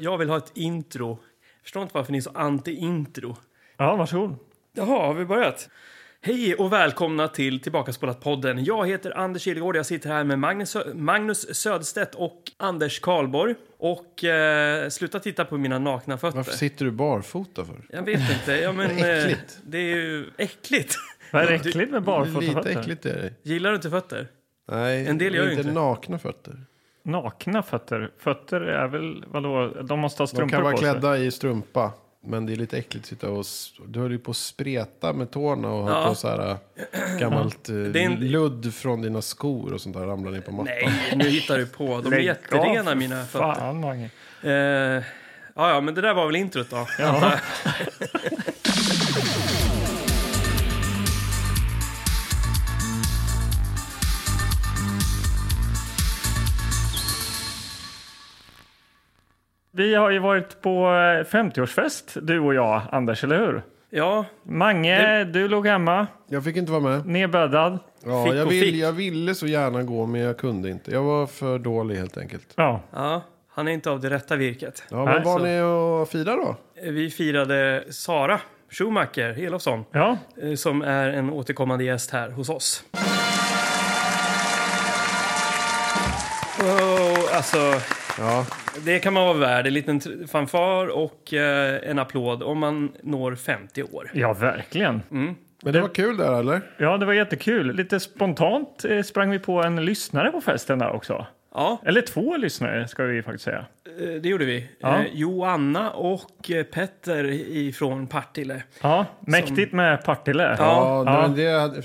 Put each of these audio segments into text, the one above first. Jag vill ha ett intro. Jag förstår inte varför ni är så anti-intro. Ja, varsågod. Jaha, har vi börjat? Hej och välkomna till Tillbakaspolat-podden. Jag heter Anders Kihlgård. Jag sitter här med Magnus, Sö- Magnus Söderstedt och Anders Karlborg. Och eh, sluta titta på mina nakna fötter. Varför sitter du barfota för? Jag vet inte. Ja, men, eh, Äckligt. det är ju äckligt. Vad är det äckligt med barfota Lite fötter? äckligt är det. Gillar du inte fötter? Nej, En del gör ju inte inte. nakna fötter. Nakna fötter? Fötter är väl, vadå, de måste ha De kan strumpor vara på sig? klädda i strumpa. Men det är lite äckligt att sitta och... s- Du höll ju på att spreta med tårna och Ja. ha på så här äh, gammalt eh, Det är en- ludd från dina skor och sånt där ramlar ner på mattan. Nej, nu hittar du på. De är Lägg jätterena av, mina fötter. Fan, Mange. Eh, ja, ja, men det där var väl introt då. Ja. Vi har ju varit på eh, 50-årsfest, du och jag, Anders, eller hur? Ja, Mange, du låg hemma, Jag fick inte vara med. nedbäddad. Ja, Fick jag, och fick. vill, jag ville så gärna gå men jag kunde inte. Jag var för dålig helt enkelt. Ja. ja, han är inte av det rätta virket. Ja, Nej, men var så- ni och firade då? Vi firade Sara Schumacher Elofsson ja. eh, som är en återkommande gäst här hos oss. Wow, alltså, Ja, det det kan man vara värd. En liten tr- fanfar och eh, en applåd om man når 50 år. Ja, verkligen. men det var kul där eller? Ja, det var jättekul. Lite spontant eh, sprang vi på en lyssnare på festen där också. Ja, Eller två lyssnare ska vi faktiskt säga. eh, det gjorde vi. Ja. Eh, Joanna och eh, Petter ifrån Partille. Ja, mäktigt med Partille. Ja, Ja. nej,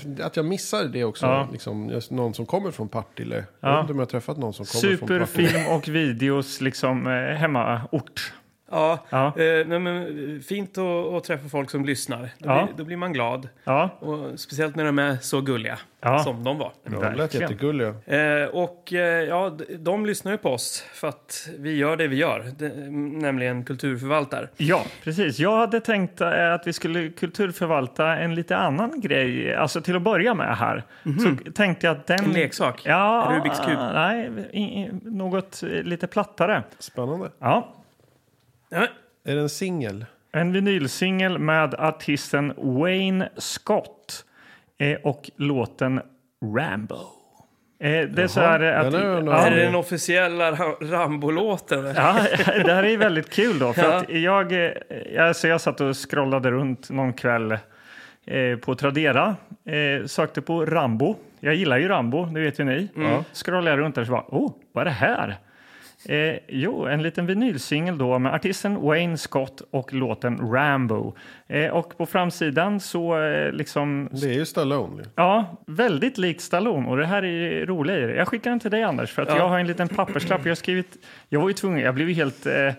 Det, att jag missade det också. Ja. Liksom, just någon som kommer från Partille. Jag Ja. vet inte om jag har träffat någon som kommer från Partille. Superfilm och videos liksom eh, hemmaort. Ja, Ja. Eh, nej, men, eh, fint att, att träffa folk som lyssnar. Då, Ja. blir, då blir man glad. Ja, Och speciellt när de är så gulliga Ja. som de var. De lät verkligen. jättegulliga. Eh, och eh, ja, d- de lyssnar ju på oss för att vi gör det vi gör, det, nämligen kulturförvaltar. Ja, precis. Jag hade tänkt eh, att vi skulle kulturförvalta en lite annan grej. Alltså till att börja med här. Så tänkte jag att den... Mhm. En leksak? Ja, Rubiks kub? Nej, i- i- något eh, lite plattare. Spännande. Ja, Ja, Är det en singel? En vinylsingel med artisten Wayne Scott eh, och låten Rambo. Eh, det är så här eh, att... den är en ja, är det den officiella Ra- Rambo-låten? Ja, det här är väldigt kul då. För Ja. att jag, eh, alltså jag satt och scrollade runt någon kväll eh, på Tradera. Eh, sökte på Rambo. Jag gillar ju Rambo, det vet ju ni. Ja. Scrollade jag runt där och så bara, oh, vad är det här? Eh, jo, en liten vinylsingel då med artisten Wayne Scott och låten Rambo. Eh, och på framsidan så eh, liksom... Det är ju Stallone. ju. Ja, väldigt likt Stallone och det här är ju roliga i det. Jag skickar den till dig Anders för att Ja. jag har en liten papperslapp. Jag har skrivit, jag var ju tvungen, jag blev ju helt eh,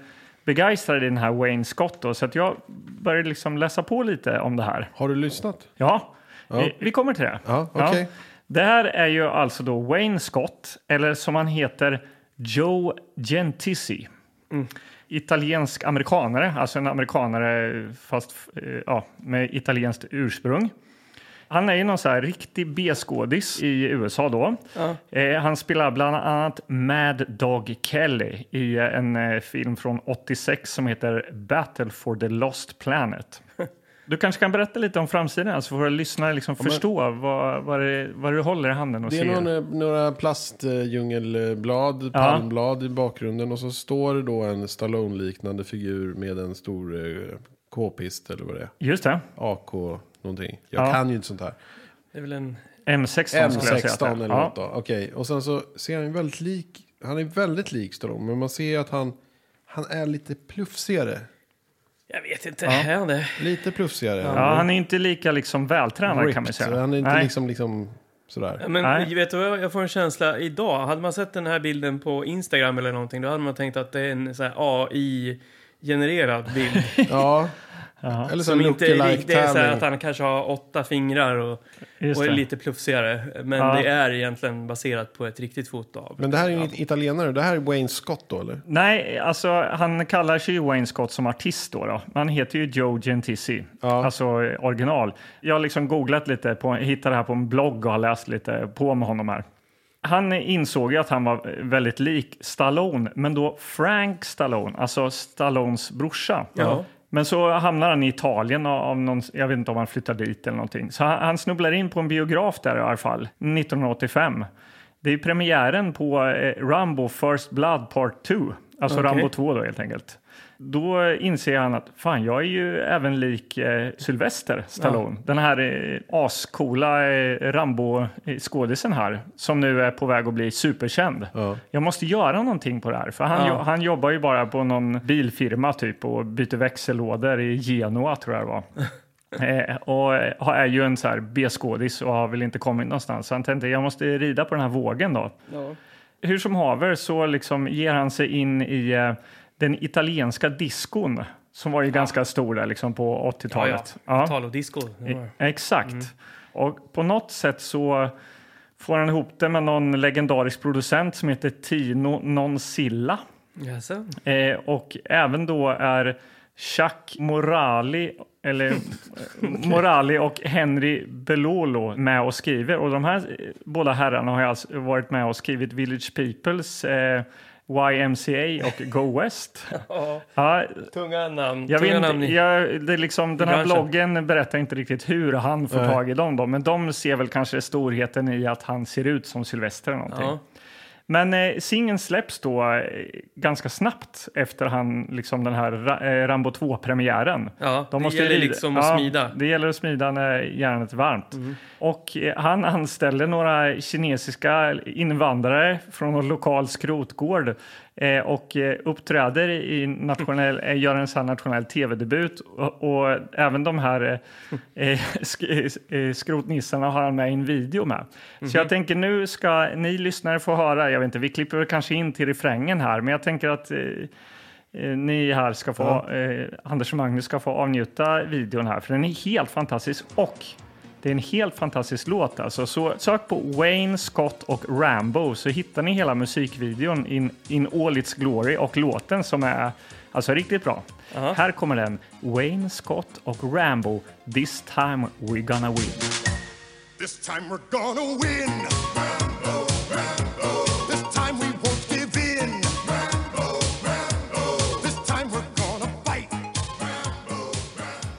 begeistrad i den här Wayne Scott då, så att jag började liksom läsa på lite om det här. Har du lyssnat? Ja, Vi, vi kommer till det. Ja, okej. Det här är ju alltså då Wayne Scott, eller som han heter, Joe Gentissi. Italiensk amerikanare, alltså en amerikanare fast eh, ja, med italienskt ursprung. Han är ju någon så här riktig B-skådis i USA då. Eh, han spelar bland annat Mad Dog Kelly i eh, en eh, film från 86 som heter Battle for the Lost Planet. Du kanske kan berätta lite om framsidan här, så får våra lyssnare liksom förstå vad, vad, det, vad du håller i handen och Det är ser. någon, eh, några plastdjungelblad, palmblad i bakgrunden och så står det då en Stallone-liknande figur med en stor eh, k-pist eller vad det är. Just det, AK någonting. Jag Ja. kan ju inte sånt här. Det är väl en... M16 skulle jag säga. att det är. M16 eller Ja. något då. Okej, och sen så ser han ju väldigt lik. Han är väldigt lik Stallone, men man ser ju att han, han är lite plufsigare. Jag vet inte. Är han det? Lite plufsigare. Ja, han är inte lika liksom vältränad kan man Ripped, säga. så Han är inte Nej. liksom, liksom sådär. Men Nej. vet du vad, jag får en känsla idag. Hade man sett den här bilden på Instagram eller någonting då hade man tänkt att det är en så här AI-genererad bild. Ja. Eller så som inte är lookalike rik, det är så här tävling. att han kanske har åtta fingrar och, liksom- Just och är det. lite plufsigare. Men Ja. det är egentligen baserat på ett riktigt foto av. Men det här är ju en italienare. Det här är Wayne Scott då eller? Nej, alltså han kallar sig ju Wayne Scott som artist då. då. Han heter ju Joe Gentissi, alltså eh, original. Jag har liksom googlat lite, på, hittade det här på en blogg och har läst lite på med honom här. han insåg ju att han var väldigt lik Stallone, men då Frank Stallone, alltså Stallones brorsa. Ja. Men så hamnar han i Italien av- av någon, jag vet inte om han flyttar dit eller någonting. Så han, han snubblar in på en biograf där i alla fall, 1985. Det är premiären på eh, Rambo First Blood Part 2, alltså Okej. Rambo 2 då helt enkelt. Då inser han att fan, jag är ju även lik eh, Sylvester Stallone. Den här eh, ascoola eh, Rambo-skådisen här som nu är på väg att bli superkänd. Ja. Jag måste göra någonting på det här. För han, Ja. jo- han jobbar ju bara på någon bilfirma typ och byter växellådor i Genoa tror jag det var. Eh, och eh, har- är ju en så här B-skådis och har väl inte kommit någonstans. Så han tänkte jag måste rida på den här vågen då. Hur som haver så liksom ger han sig in i eh, den italienska diskon som var ju ganska stor där liksom på 80-talet. Ja. Tal och disco. E- Exakt. Och på något sätt så får han ihop det med någon legendarisk producent som heter Tino Nonsilla. Jaså? Eh, och även då är Chuck Morali, eller eh, Morali och Henry Belolo med och skriver. Och de här eh, båda herrarna har ju alltså varit med och skrivit Village Peoples eh, YMCA och Go West. Ja, Ja, tunga namn. jag tunga vet namn inte, i- jag, det är liksom, den här branschen. bloggen berättar inte riktigt hur han får Nej. tag i dem. Då, men de ser väl kanske storheten i att han ser ut som Sylvester eller någonting. Ja. Men eh, singeln släpps då eh, ganska snabbt efter han, liksom den här Ra- eh, Rambo 2-premiären. Ja, De det måste gäller lida- liksom att ja, smida. Mm. Det gäller att smida när järnet är varmt. Och eh, han anställde några kinesiska invandrare från någon lokal skrotgård eh, och eh, uppträder i nationell, eh, gör en sån här nationell tv-debut. Och, och även de här eh, eh, sk- eh, skrotnissarna har han med i en video med. Så Mhm. jag tänker nu ska ni lyssnare få höra, jag vet inte, vi klipper väl kanske in till refrängen här, men jag tänker att eh, Eh, ni här ska få, eh, Anders och Magnus ska få avnjuta videon här, för den är helt fantastisk. Och det är en helt fantastisk låt alltså. Så sök på Wayne Scott och Rambo så hittar ni hela musikvideon in, in all its glory och låten som är alltså riktigt bra. Aha. Här kommer den. Wayne Scott och Rambo. This time we gonna win. This time we're gonna win. This time we won't give in. This time we're gonna fight.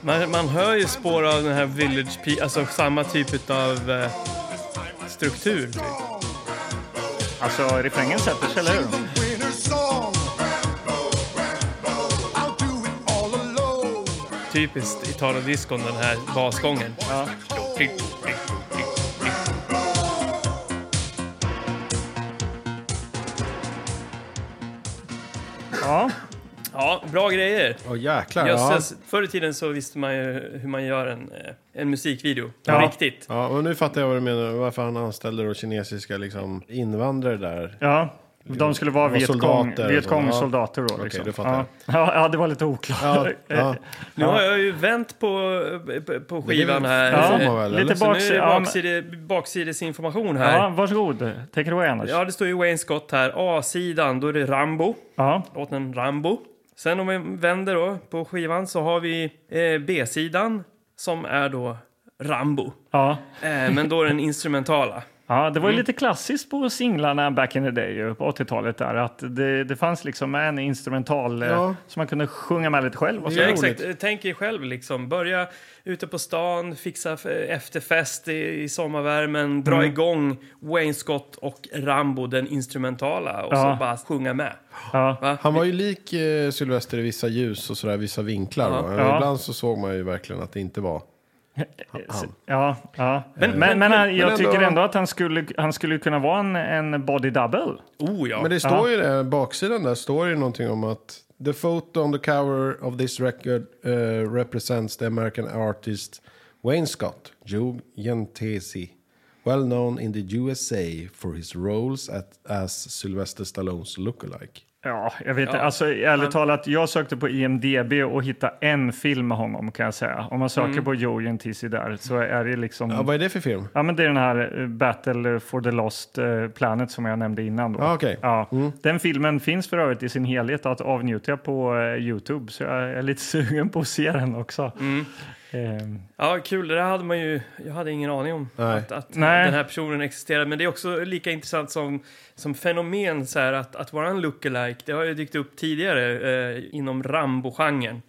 Man, man hör ju spår av den här Village Pe- alltså samma typ av eh, struktur. Alltså refrängen sätter sig, eller hur? The winner's song. I'll do it all alone. Typiskt Italo-discon, den här basgången. Klick, klick, klick, klick. Ja, Ja, bra grejer. Åh jäklar. Ja. Jösses, förr i tiden så visste man ju hur man gör en, eh, en musikvideo. På Ja. riktigt. ja, och nu fattar jag vad du menar. Varför han anställde då kinesiska liksom, invandrare där. ja. De skulle vara Det var Vietcong- soldater och så, ja. Vietcong-soldater då. Okej, Liksom. det fattar ja. Ja, ja, det var lite oklart. Eh, Ja, ja. Nu har jag ju vänt på, eh, på skivan här. Det får Ja, man väl, eller? lite Så nu är det baksida. Ja, men- bakside, baksidesinformation här. ja, Ja. varsågod. Take it away, Anders. Ja. det står ju Wayne Scott här. A-sidan, då är det Rambo. Låten Rambo. Sen om vi vänder då på skivan så har vi eh, B-sidan som är då Rambo. Ja. Eh, men då är den instrumentala. ja, det var ju Mm. lite klassiskt på singlarna back in the day ju, på 80-talet där. Att det, det fanns liksom en instrumental eh, Ja. som man kunde sjunga med lite själv. Och så. Ja, roligt. exakt. Eh, Tänk er själv liksom. Börja ute på stan, fixa f- efterfest i, i sommarvärmen, dra igång Wayne Scott och Rambo, den instrumentala, och Ja. så bara sjunga med. Ja. Va? Han var ju lik eh, Sylvester i vissa ljus och sådär, vissa vinklar. va? Ja. Ibland så såg man ju verkligen att det inte var han. Ja, ja. Men, men, men- han- jag men ändå- tycker ändå att han skulle, han skulle kunna vara en, en body double. Oh ja. Men det står ju det, baksidan där står ju någonting om att the photo on the cover of this record eh, represents the American artist Wayne Scott, Joe Gentesi, well known in the USA for his roles at, as Sylvester Stallones lookalike. Ja, jag vet inte. Ja. Alltså, ärligt talat, jag sökte på IMDB och hittade en film med honom kan jag säga. Om man söker Mm. på Joe Gentisi där så är det liksom... Ja, vad är det för film? Ja, men det är den här eh, Battle for the Lost eh, Planet som jag nämnde innan. Då. Ja, Ah, okej. Ja. Den filmen finns för övrigt i sin Mm. helhet att avnjuta på eh, Youtube, så jag är lite sugen på att se den också. Ehm, Ja, kul. Det där hade man ju... Jag hade ingen aning om Nej. att, att Nej. den här personen existerade. Men det är också lika intressant som, som fenomen så här, att, att vara en lookalike. Det har ju dykt upp tidigare eh, inom Rambo-genren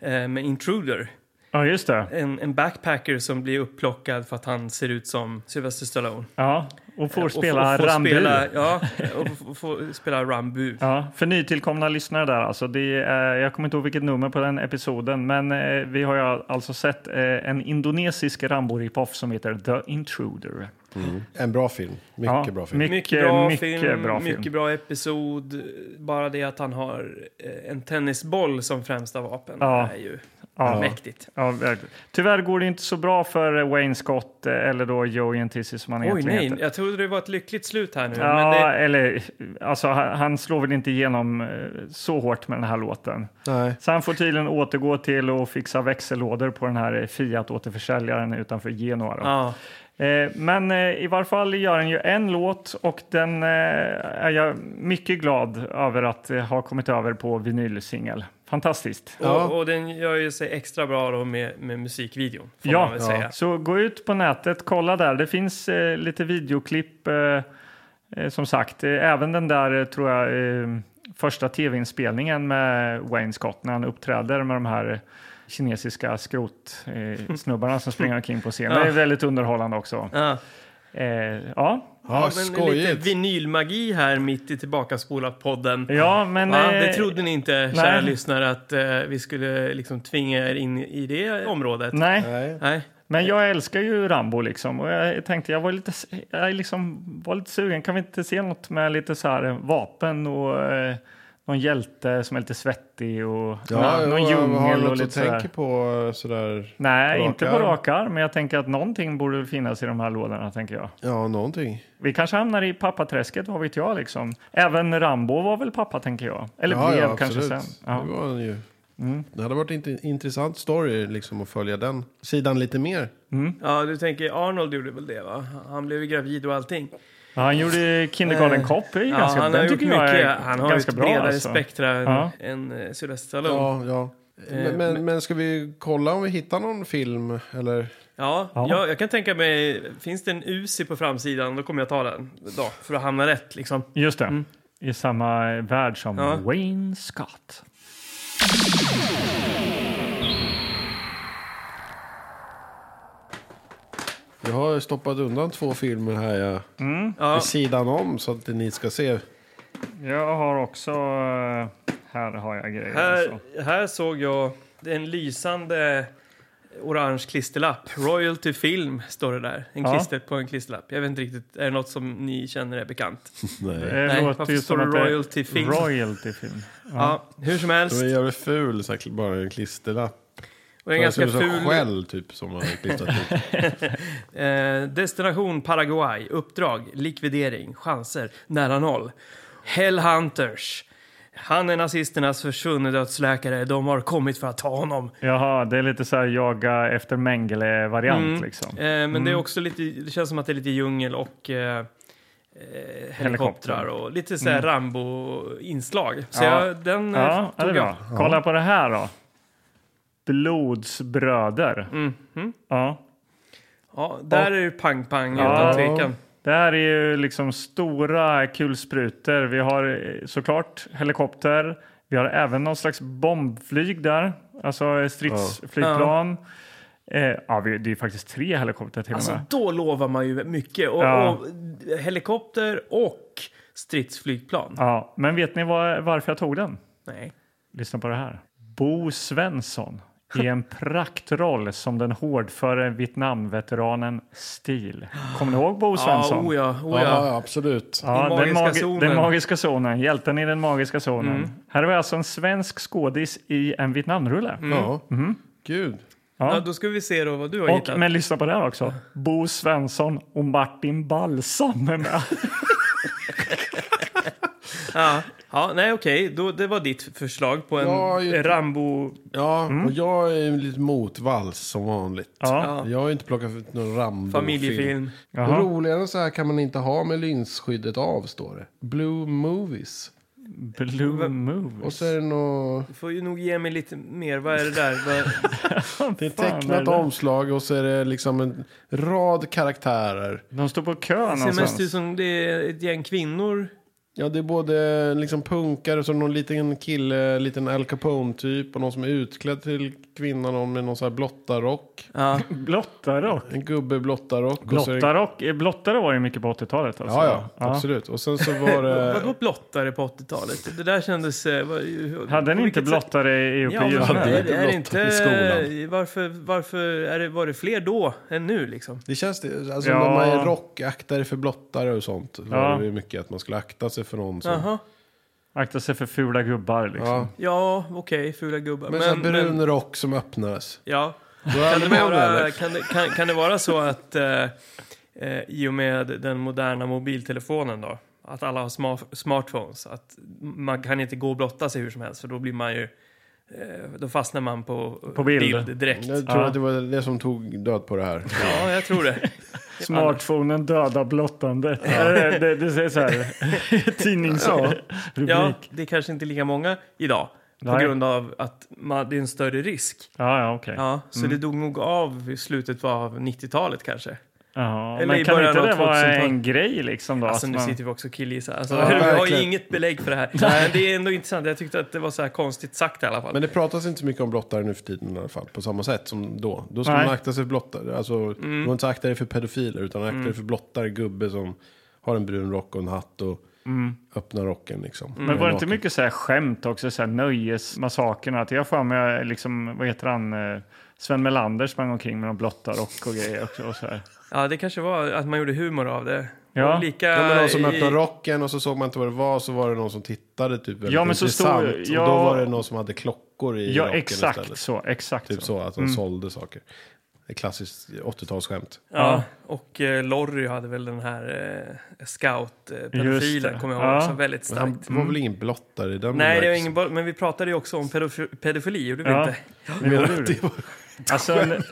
eh, med Intruder. Ja, just det. En, en backpacker som blir upplockad för att han ser ut som Sylvester Stallone. Ja, och får Och få- spela få Rambu. Spela, ja, och få- få spela Rambu. Ja, för nytillkomna lyssnare där alltså. Det är, jag kommer inte ihåg vilket nummer på den episoden, men eh, vi har ju alltså sett eh, en indonesisk Rambo-ripoff som heter The Intruder. En bra film. Mycket Ja, bra film. mycket- Mycket bra mycket film, bra film. mycket bra episod. Bara det att han har eh, en tennisboll som främsta vapen Ja. är ju Ja. mäktigt. Ja, verkligen. Tyvärr går det inte så bra för eh, Wayne Scott eh, eller då Joe Gentisi som han Oj egentligen nej, heter. jag trodde det var ett lyckligt slut här nu. Ja, Men det, eller alltså han, han slår väl inte igenom eh, så hårt med den här låten. Nej. Så han får tydligen återgå till att fixa växellådor på den här eh, Fiat-återförsäljaren utanför Genua. Då. ja. Eh, Men eh, i varje fall gör han ju en låt och den eh, är jag mycket glad över att eh, ha kommit över på vinylsingel. Fantastiskt. Ja. Och, och den gör ju sig extra bra då med, med musikvideon. Får man Ja, väl ja. säga. så gå ut på nätet, kolla där. Det finns eh, lite videoklipp eh, eh, som sagt. Eh, Även den där eh, tror jag eh, första tv-inspelningen med Wayne Scott när han uppträder med de här eh, kinesiska skrotsnubbarna eh, snubbarna som springer omkring på scenen. Ja. Det är väldigt underhållande också. Ja. Eh, ja, Ja, men lite skojigt. vinylmagi här mitt i Tillbakaspolat-podden. ja men... Va? eh, Det trodde ni inte, kära nej. lyssnare, att eh, vi skulle liksom tvinga er in i det området? Nej, Nej. Nej. men jag älskar ju Rambo liksom och jag tänkte jag var lite, jag liksom var lite sugen. Kan vi inte se något med lite så här eh, vapen och eh, någon hjälte som är lite svettig och Ja, någon jag har djungel och något att lite så här. tänka på eh, sådär. Nej, på rak inte på arm. rak arm, men jag tänker att någonting borde väl finnas i de här lådorna tänker jag. Ja, någonting. Vi kanske hamnar i pappaträsket, vad vet jag liksom. Även Rambo var väl pappa tänker jag. Eller ja, blev ja, kanske sen. absolut. Ja. Mm, Det var han ju. Det hade varit en int- intressant story liksom att följa den sidan lite mer. mm. Ja, du tänker Arnold gjorde väl det va? Han blev ju gravid och allting. Ja, han gjorde Kindergarten Cop, är ju Eh, Ja, ganska, han den har gjort tycker jag är mycket. Han har ju ganska ett bra. bredare alltså. spektra än, Ja. än eh, Sylvester Stallone. Ja, Ja, ja. Eh, Men, men, men ska vi kolla om vi hittar någon film? Eller? Ja. Jag, jag kan tänka mig, finns det en Uzi på framsidan då kommer jag ta den då, för att hamna rätt liksom. Just det. I samma eh, värld som Ja. Wayne Scott. Jag har stoppat undan två filmer här ja. Ja, vid sidan om så att ni ska se. Jag har också... eh, Här har jag grejer. här, alltså. här såg jag en lysande orange klisterlapp. Royalty Film står det där. En Ja. klister på en klisterlapp. Jag vet inte riktigt, är det något som ni känner är bekant? Nej. Det Nej, låter varför ju står som det att det royalty film? Royalty film. Ja, hur som helst. Det är jävligt ful, så här, bara en klisterlapp. Och en Det ser ganska ut som en ful skäll typ som man har klistrat ut. Eh, destination Paraguay, uppdrag, likvidering, chanser, nära noll. Hellhunters. Han är nazisternas försvunne dödsläkare. De har kommit för att ta honom. Eh, Jaha, det är lite så här jaga efter Mengele-variant liksom. Eh, men det är också lite, det känns som att det är lite djungel och eh, eh, helikoptrar Helikopter. och lite så här Rambo-inslag. Så Mm. Ja. jag, den eh, Ja, ja, det tog är jag. bra. Kolla på det här då. Blodsbröder. Mhm. Ja. Ja, där är det pang-pang Ja. utan tvekan. Det här är ju liksom stora kulsprutor. Vi har eh, såklart helikopter. Vi har även någon slags bombflyg där, alltså eh, stridsflygplan. Ja. Eh, ja, vi, det är faktiskt tre helikoptrar till och Alltså, med. då lovar man ju mycket. Och, Ja. och helikopter och stridsflygplan. Ja, men vet ni var, varför jag tog den? Nej. Lyssna på det här. Bo Svensson i en praktroll som den hårdföre Vietnamveteranen Steel. Kommer ni ihåg Bo Svensson? Ja, oh ja, oh ja. Ja, absolut. Ja, Den den, magiska magi- zonen. den magiska zonen. Hjälten i den magiska zonen. Här har vi alltså en svensk skådis i en Vietnamrulle. Ja. Mm. Gud. Ja. Ja. då ska vi se då vad du har Och, hittat. men lyssna på det här också. Bo Svensson och Martin Balsam är med. Ja, ja, nej okej, då, det var ditt förslag på en Ja, ju- Rambo... Ja, och jag är ju lite motvalls som vanligt. Mm. Ja. Ja, Jag har ju inte plockat ut någon Rambo-film. familjefilm. Jaha. Roligare än så här kan man inte ha med linsskyddet av, står det. Blue Movies. Blue Movies. Och så är det nog... Du får ju nog ge mig lite mer. Vad är det där? Vad... Det är Fan, tecknat eller? omslag och så är det liksom en rad karaktärer. De står på kö Det ser mest ut någonstans. som det är ett gäng kvinnor. Ja, det är både liksom punkare och så någon liten kille, liten Al Capone-typ och någon som är utklädd till kvinna, någon med någon så här blottarrock. Eh. Ja. Blottarock. En gubbe i blottarrock. och så är det- Blottarock. eh, Blottare var ju mycket på 80-talet. Alltså. Ja, ja, absolut. Och sen så var Vadå det... blottare på 80-talet? Det där kändes... eh, vad- hur- Hade ni på inte vilket sätt- blottare i uppe Ja, i men Ljusne? är, det- inte är det blottare inte... i skolan. Varför, varför är det, var det fler då än nu liksom? Det känns det, alltså Ja. när man är rock, akta dig för blottare och sånt. Då Ja. var det ju mycket att man skulle akta sig för någon som... Jaha. Akta sig för fula gubbar liksom. Ja. Ja, okej, fula gubbar. Men, så här brun rock som öppnades. ja. Du Kan var det, aldrig med om det vara, eller? kan, det, kan, kan det vara så att eh, eh, i och med den moderna mobiltelefonen då, att alla har sma- smartphones, att man kan inte gå och blotta sig hur som helst för då blir man ju, eh, då fastnar man på, eh, På bild. direkt. Jag tror Ja. att det var det som tog död på det här. Ja, jag tror det. Smartphonen dödar blottandet. Det, det, det säger så här. Tidningsrubrik. Ja, Ja. det är kanske inte lika många idag på Nej. grund av att man, det är en större risk. ja, ja, okej. Ja, så Mm. det dog nog av i slutet av 90-talet kanske. Jaha, Eller i Men kan början inte av det vara 2000-talet. en grej liksom då? Alltså att nu man- sitter vi också och killgissar. Alltså, Ja, vi har ju verkligen. inget belägg för det här. Men det är ändå intressant. Jag tyckte att det var så här konstigt sagt i alla fall. Men det pratas inte så mycket om blottare nu för tiden i alla fall. På samma sätt som då. Då ska Nej. man akta sig för blottare. Alltså, Mm. Man ska inte akta dig för pedofiler utan akta dig Mm. för blottare gubbe som har en brun rock och en hatt och öppnar rocken liksom. Mm. Men var det inte Naken. mycket så här skämt också, så här nöjesmassakern? Att jag får med, liksom, vad heter han, eh, Sven Melander sprang omkring med någon blottarrock och grejer också. Och så här. Ja, det kanske var att man gjorde humor av det. Ja. Och lika Ja, men någon som i- öppnade rocken och så såg man inte vad det var så var det någon som tittade typ väldigt Ja, men så intressant. stod- ja. Och då var det någon som hade klockor i Ja, rocken exakt Mm. istället. så. Exakt Typ så. så, att de sålde saker. Ett klassiskt 80-talsskämt. Ja, och eh, Lorry hade väl den här eh, Just scout-pedofilen, det. kommer jag Ja. mm. ihåg, som väldigt Men han starkt. var väl ingen blottare i den Nej, det var bemärkelsen? ingen boll, men vi pratade ju också om pedof- pedofili, gjorde vi Ja. inte? Men gjorde du det? Alltså, en-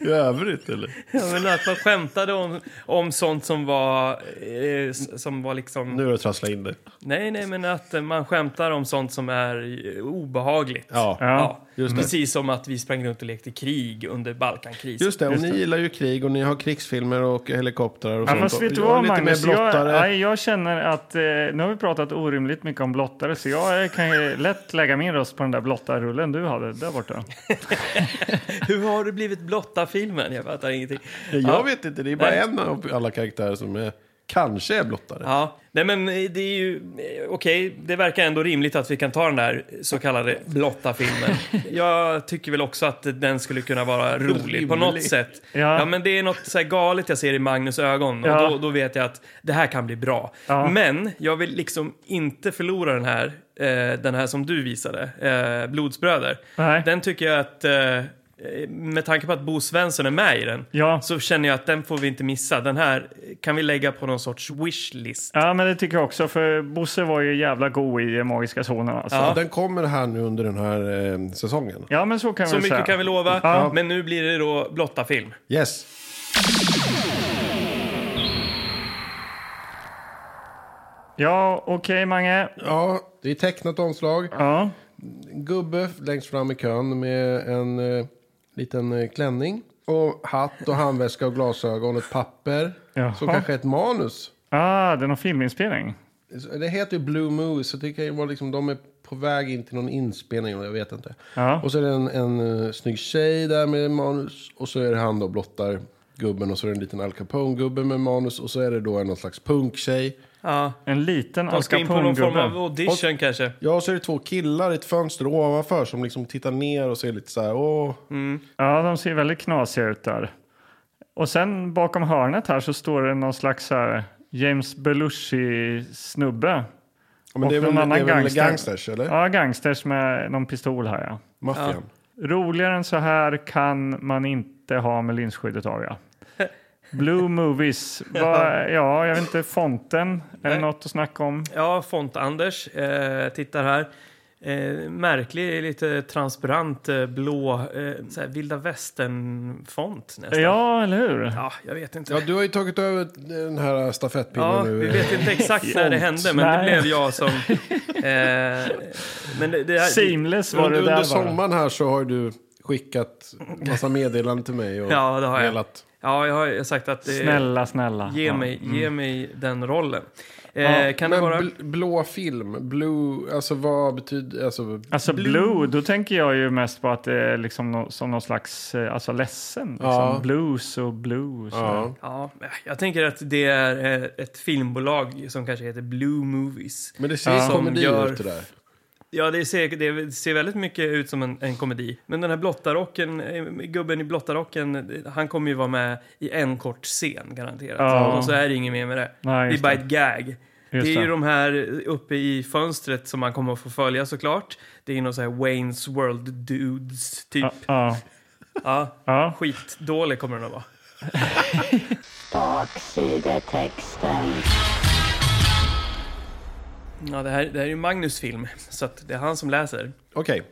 I övrigt eller? Ja, men att man skämtade om, om sånt som var, eh, s- som var liksom... Nu har du trasslat in det. Nej, nej, men att eh, man skämtar om sånt som är eh, obehagligt. Ja. ja. Just det. Precis som att vi sprang runt och lekte krig under Balkankrisen. Just det, och Just ni det. gillar ju krig och ni har krigsfilmer och helikoptrar och Ja, sånt. fast vet du Jag är vad lite mer Magnus, jag, blottare. nej, jag känner att eh, nu har vi pratat orimligt mycket om blottare så jag eh, kan ju lätt lägga min röst på den där blottarrullen du hade där borta. Hur har det blivit blotta filmen? Jag fattar ingenting. Jag vet inte, det är bara en av alla karaktärer som är, kanske är blottare. Ja, nej men eh, det är ju eh, okej, det verkar ändå rimligt att vi kan ta den där så kallade blotta filmen. Jag tycker väl också att den skulle kunna vara rolig på något Rimlig. sätt. Ja. Ja. men det är något så här galet jag ser i Magnus ögon Ja. och då, då vet jag att det här kan bli bra. Ja. Men jag vill liksom inte förlora den här, eh, den här som du visade, eh, Blodsbröder. Nej. Den tycker jag att eh, eh, med tanke på att Bo Svensson är med i den Ja. så känner jag att den får vi inte missa. Den här kan vi lägga på någon sorts wishlist. Ja, men det tycker jag också, för Bosse var ju jävla god i eh, Magiska zonen. Alltså. Ja. Ja. Den kommer här nu under den här eh, säsongen. men så kan Så vi väl säga. mycket kan vi lova, Ja. men nu blir det då blotta film. Yes. Ja, okej Mange. Ja, det är tecknat omslag. Ja. En gubbe längst fram i kön med en eh, liten eh, klänning. Och hatt och handväska och glasögon och ett papper. Jaha. Som kanske är ett manus. Ah, det är någon filminspelning. Det heter ju Blue Movies, så det kan ju vara liksom, de är på väg in till någon inspelning, jag vet inte. Ja. Och så är det en, en eh, snygg tjej där med manus. Och så är det han då, blottar gubben. Och så är det en liten Al Capone-gubbe med manus. Och så är det då en någon slags punktjej. Ja. En liten De Al ska in på någon form av Capone-gubbe. audition kanske. Ja, och så är det två killar i ett fönster ovanför som liksom tittar ner och ser lite så här, åh. Ja, de ser väldigt knasiga ut där. Och sen bakom hörnet här så står det någon slags så här James Belushi-snubbe. Men Och det är någon väl, det annan är väl gangster. gangsters, eller? Ja, gangsters med någon pistol här ja. Maffian. Roligare än så här kan man inte ha med linsskyddet av ja. Blue Movies. Va, ja, jag vet inte. Fonten. Är det något att snacka om? Ja, Font-Anders eh, tittar här. eh, märklig, lite transparent, eh, blå, eh, så här vilda västern-font nästan. Ja, eller hur? Ja, jag vet inte. Ja, du har ju tagit över den här stafettpinnen Ja, nu. vi vet inte exakt när det hände, men det Nej. blev jag som... Eh, men det, det här, Seamless var Under, det där under bara. sommaren här så har du skickat massa meddelanden till mig och Ja, det har jag. velat. Ja, jag har ju sagt att det, Snälla, snälla. ge, Ja. mm. mig, ge mig den rollen. Eh, Ja, kan det Men vara... bl- blå film, blue, alltså vad betyder, alltså Alltså blue. då tänker jag ju mest på att det är liksom nå- som någon slags eh, alltså ledsen. Liksom. Ja. Blues och blue. och sådär. ja. Ja, jag tänker att det är eh, ett filmbolag som kanske heter Blue Movies. Men det ser Ja. komedi Som gör- ut det där. Ja, det ser, det ser väldigt mycket ut som en, en komedi. Men den här blottarocken, eh, gubben i blottarocken, eh, han kommer ju vara med i en kort scen garanterat. Ja. Och så är det inget mer med det. Nej, det är just bara det. ett gag. Just det är ju det. de här uppe i fönstret som man kommer att få följa såklart. Det är någon så här Wayne's World Dudes typ. Ja, ja. Ja. ja. Skitdålig kommer den att vara. Baksidetexten. Ja, det, här, det här är ju Magnus film, så att det är han som läser. Okej,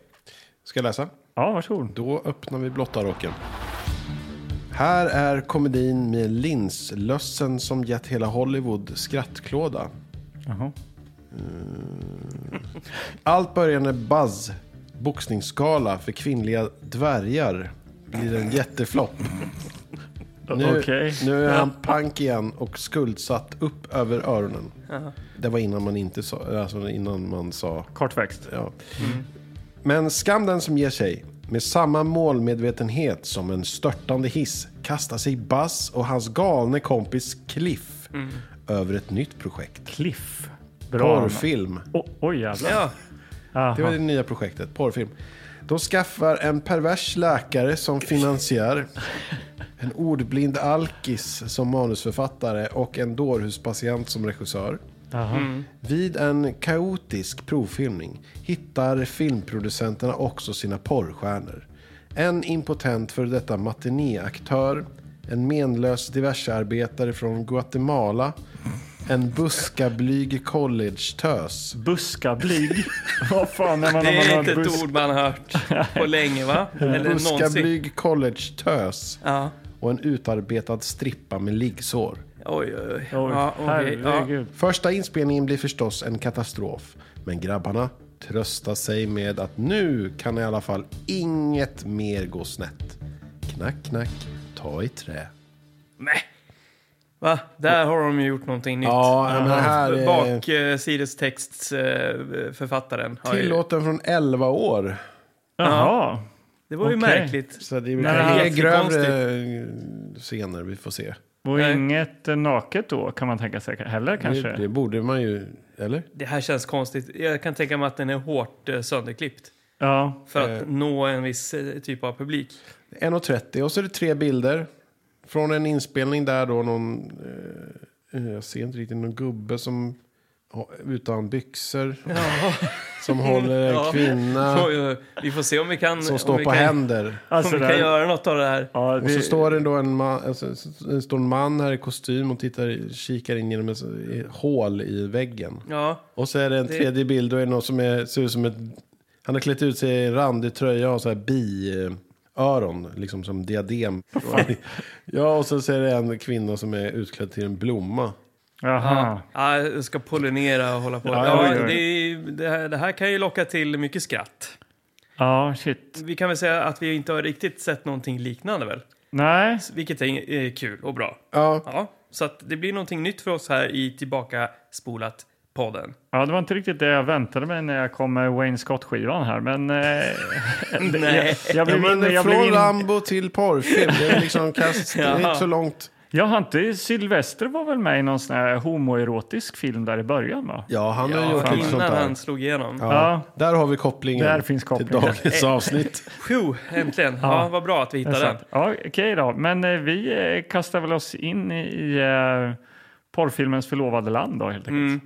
ska jag läsa? ja varsågod. Då öppnar vi blottarocken. Här är komedin med linslössen som gett hela Hollywood skrattklåda. Jaha. Allt börjar när Buzz, boxningsskala för kvinnliga dvärgar, blir en jätteflopp. Nu, Okej. nu är han pank igen och skuldsatt upp över öronen. Det var innan man inte sa, alltså innan man sa Kortväxt. Ja. Men skam den som ger sig. Med samma målmedvetenhet som en störtande hiss kastar sig Buzz och hans galne kompis Cliff över ett nytt projekt. Cliff. Bra. Porrfilm. Oh, oj jävlar. Ja, Det var det nya projektet. Porrfilm. De skaffar en pervers läkare som finansiär. En ordblind alkis som manusförfattare och en dårhuspatient som regissör. Jaha. Vid en kaotisk provfilmning hittar filmproducenterna också sina porrstjärnor. En impotent för detta matinéaktör, en menlös diversearbetare från Guatemala, en buskablyg collegetös. Buskablyg. Vad fan är man när det man är har inte busk? ett ord man har hört på länge, va? En Eller någonsin. buskablyg collegetös Ja. och en utarbetad strippa med liggsår. Oj, oj, oj. Oj, ja, okej, ja. herregud. Första inspelningen blir förstås en katastrof, men grabbarna tröstar sig med att nu kan i alla fall inget mer gå snett. Knack, knack, ta i trä. Nej. Va? Där har de ju gjort någonting nytt. eh, Ja, men här är- Baksidestextsförfattaren. Tillåten från 11 år. Jaha. Det var ju Okej. märkligt. Så det Nej, det är är Nej, grövre scener, vi får se. Och Nej. inget eh, naket då kan man tänka sig heller kanske? Det, det borde man ju, eller? Det här känns konstigt. Jag kan tänka mig att den är hårt eh, sönderklippt Ja. för att nå en viss eh, typ av publik. 1.30 och så är det tre bilder. Från en inspelning där då någon, eh, jag ser inte riktigt, någon gubbe som ha- utan byxor. Som håller en Ja. kvinna Så, eh, vi får se om vi kan, som om står vi på kan, händer. om Alltså, vi där- kan göra något av det här. ja, Och så det, står det då en man, alltså, så- så- det står en man här i kostym och tittar, kikar in genom ett så- i- hål i väggen. Ja, Och så är det en Det- tredje bild och det är någon som är, ser ut som ett... Han har klätt ut sig i en randig tröja och så här biöron, liksom som diadem. ja, och så ser det en kvinna som är utklädd till en blomma. Jaha. ja, jag ska pollinera och hålla på. Ja, ja, Ja, ja. det, är- det, här, det här kan ju locka till mycket skratt. Ja, shit. Vi kan väl säga att vi inte har riktigt sett någonting liknande väl? Nej. Vilket är eh, kul och bra. Ja, Ja, så att det blir någonting nytt för oss här i Tillbaka spolat podden. Ja, det var inte riktigt det jag väntade mig när jag kom med Wayne Scott-skivan här, men... Eh, Nej. jag, ja blev men in, jag, blev från in, Rambo till porrfilm. Det är liksom kast, det är inte så långt. jag har inte... Sylvester var väl med i någon sån här homoerotisk film där i början, va? Ja, han har Ja, gjort lite sånt innan där. han slog igenom. Ja. Ja. Där har vi kopplingen, Där finns kopplingen. till dagens avsnitt. Phew, äntligen. Ja. Ja. vad bra att vi hittade den. Sant. Ja, Okej då, men eh, vi eh, kastar väl oss in i eh, porrfilmens förlovade land då, helt enkelt. Mm.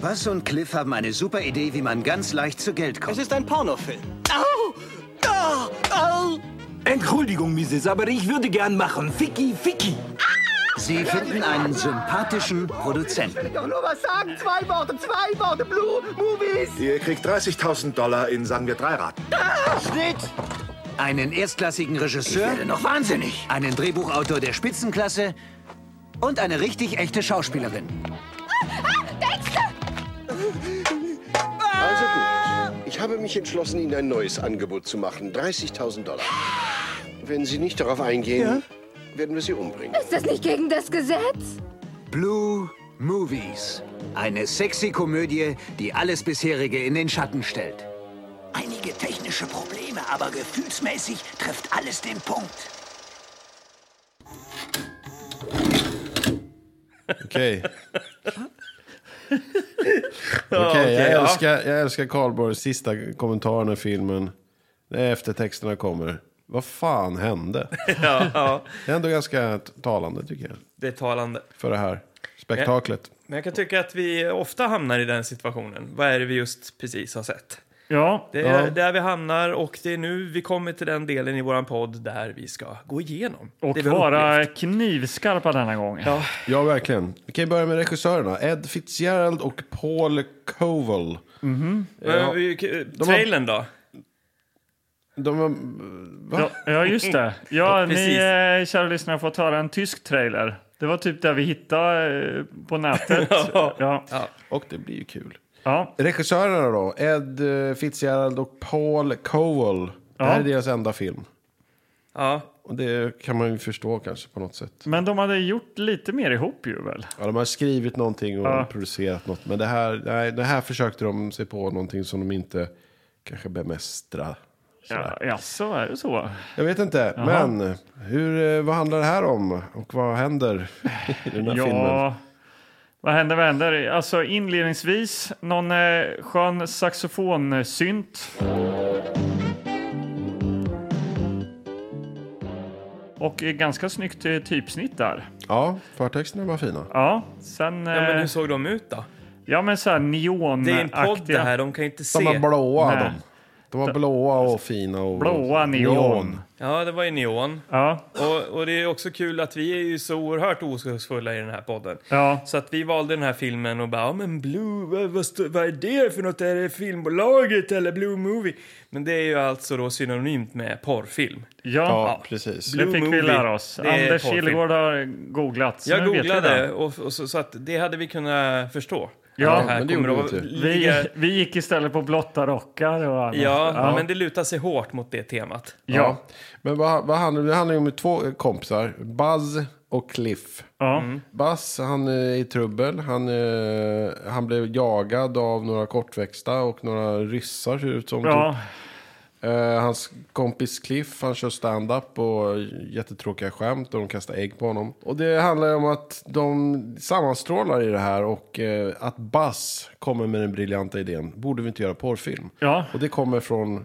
Buzz und Cliff haben eine super Idee, wie man ganz leicht zu Geld kommt. Es ist ein Pornofilm. Au! Ah! Au! Entschuldigung, Mrs., aber ich würde gern machen. Ficky, Ficky. Sie finden einen sympathischen Produzenten. Doch nur was sagen, zwei Worte, zwei Worte, Blue Movies. Ihr kriegt 30.000 Dollar in, sagen wir, drei Raten. einen erstklassigen Regisseur, Noch wahnsinnig. einen Drehbuchautor der Spitzenklasse und eine richtig echte Schauspielerin. Also gut. Ich habe mich entschlossen, Ihnen ein neues Angebot zu machen. 30.000 Dollar. Wenn Sie nicht darauf eingehen, werden wir Sie umbringen. Ist das nicht gegen das Gesetz? Blue Movies. Eine sexy Komödie, die alles bisherige in den Schatten stellt. Einige technische Probleme, aber gefühlsmäßig trifft alles den Punkt. Okej. Okej, okej, ja. jag älskar, jag älskar Karlborgs sista kommentaren i filmen. Det är efter texterna kommer. Vad fan hände? Ja, ja, Det är ändå ganska t- talande tycker jag. det är talande. För det här spektaklet. Men jag kan tycka att vi ofta hamnar i den situationen. Vad är det vi just precis har sett? Ja, Det är där vi hamnar och det är nu vi kommer till den delen i våran podd där vi ska gå igenom. och det vi har vara upplevt. knivskarpa denna gång. Ja, verkligen. Vi kan ju börja med regissörerna. Ed Fitzgerald och Paul Koval. Men vi- Trailern då? De var... Ja, ja just det. Ja, ni precis. eh, kära lyssnare har fått höra en tysk trailer. Det var typ där vi hittade eh, på nätet. Ja. ja. Och det blir ju kul. Ja. Regissörerna då? Ed eh, Fitzgerald och Paul Koval. Det här är deras enda film. Ja. Och det kan man ju förstå kanske på något sätt. Men de hade gjort lite mer ihop ju väl? Ja, de har skrivit någonting och Ja. producerat något. Men det här, nej, det här försökte de sig på någonting som de inte kanske bemästrar. Ja, jaså, är det så? Jag vet inte, men hur, eh, vad handlar det här om? Och vad händer i den här filmen? Ja, vad händer, vad händer? Alltså inledningsvis någon eh, skön saxofonsynt. Och eh, ganska snyggt eh, typsnitt där. Ja, förtexterna var fina. Ja, sen... ja, men eh, hur såg de ut då? Ja, men så här neonaktiga. Det är en podd det här, de kan ju inte De se. var blåa Nej. de. De var blåa och fina och... Blåa neon. Ja, det var ju neon. Ja, Och, och det är också kul att vi är ju så oerhört oskuldsfulla i den här podden. ja. Så att vi valde den här filmen och bara, ja men Blue, vad, vad, stå- vad är det för något? Är det filmbolaget eller Blue Movie? Men det är ju alltså då synonymt med porrfilm. ja. Ja, precis. Blue Det fick movie. vi lära oss. Det är Anders porrfilm. Kilgård har googlat. så Jag nu vet vi googlade det. och, och så, så att det hade vi kunnat förstå. Ja, Att det här men det kommer gjorde att vi inte. ligga... Vi, vi gick istället på blotta rockar och annat. Ja, men det lutar sig hårt mot det temat. ja. Men vad, vad handlar det? Det handlar ju om två eh, kompisar, Buzz och Cliff. ja. Mm. Bass, han är i trubbel. Han, eh, han blev jagad av några kortväxta och några ryssar ser det ut som. Ja, Typ. Eh, hans kompis Cliff, han kör stand-up och jättetråkiga skämt och de kastar ägg på honom. Och det handlar ju om att de sammanstrålar i det här och eh, att Bass kommer med den briljanta idén. Borde vi inte göra porrfilm? Ja. Och det kommer från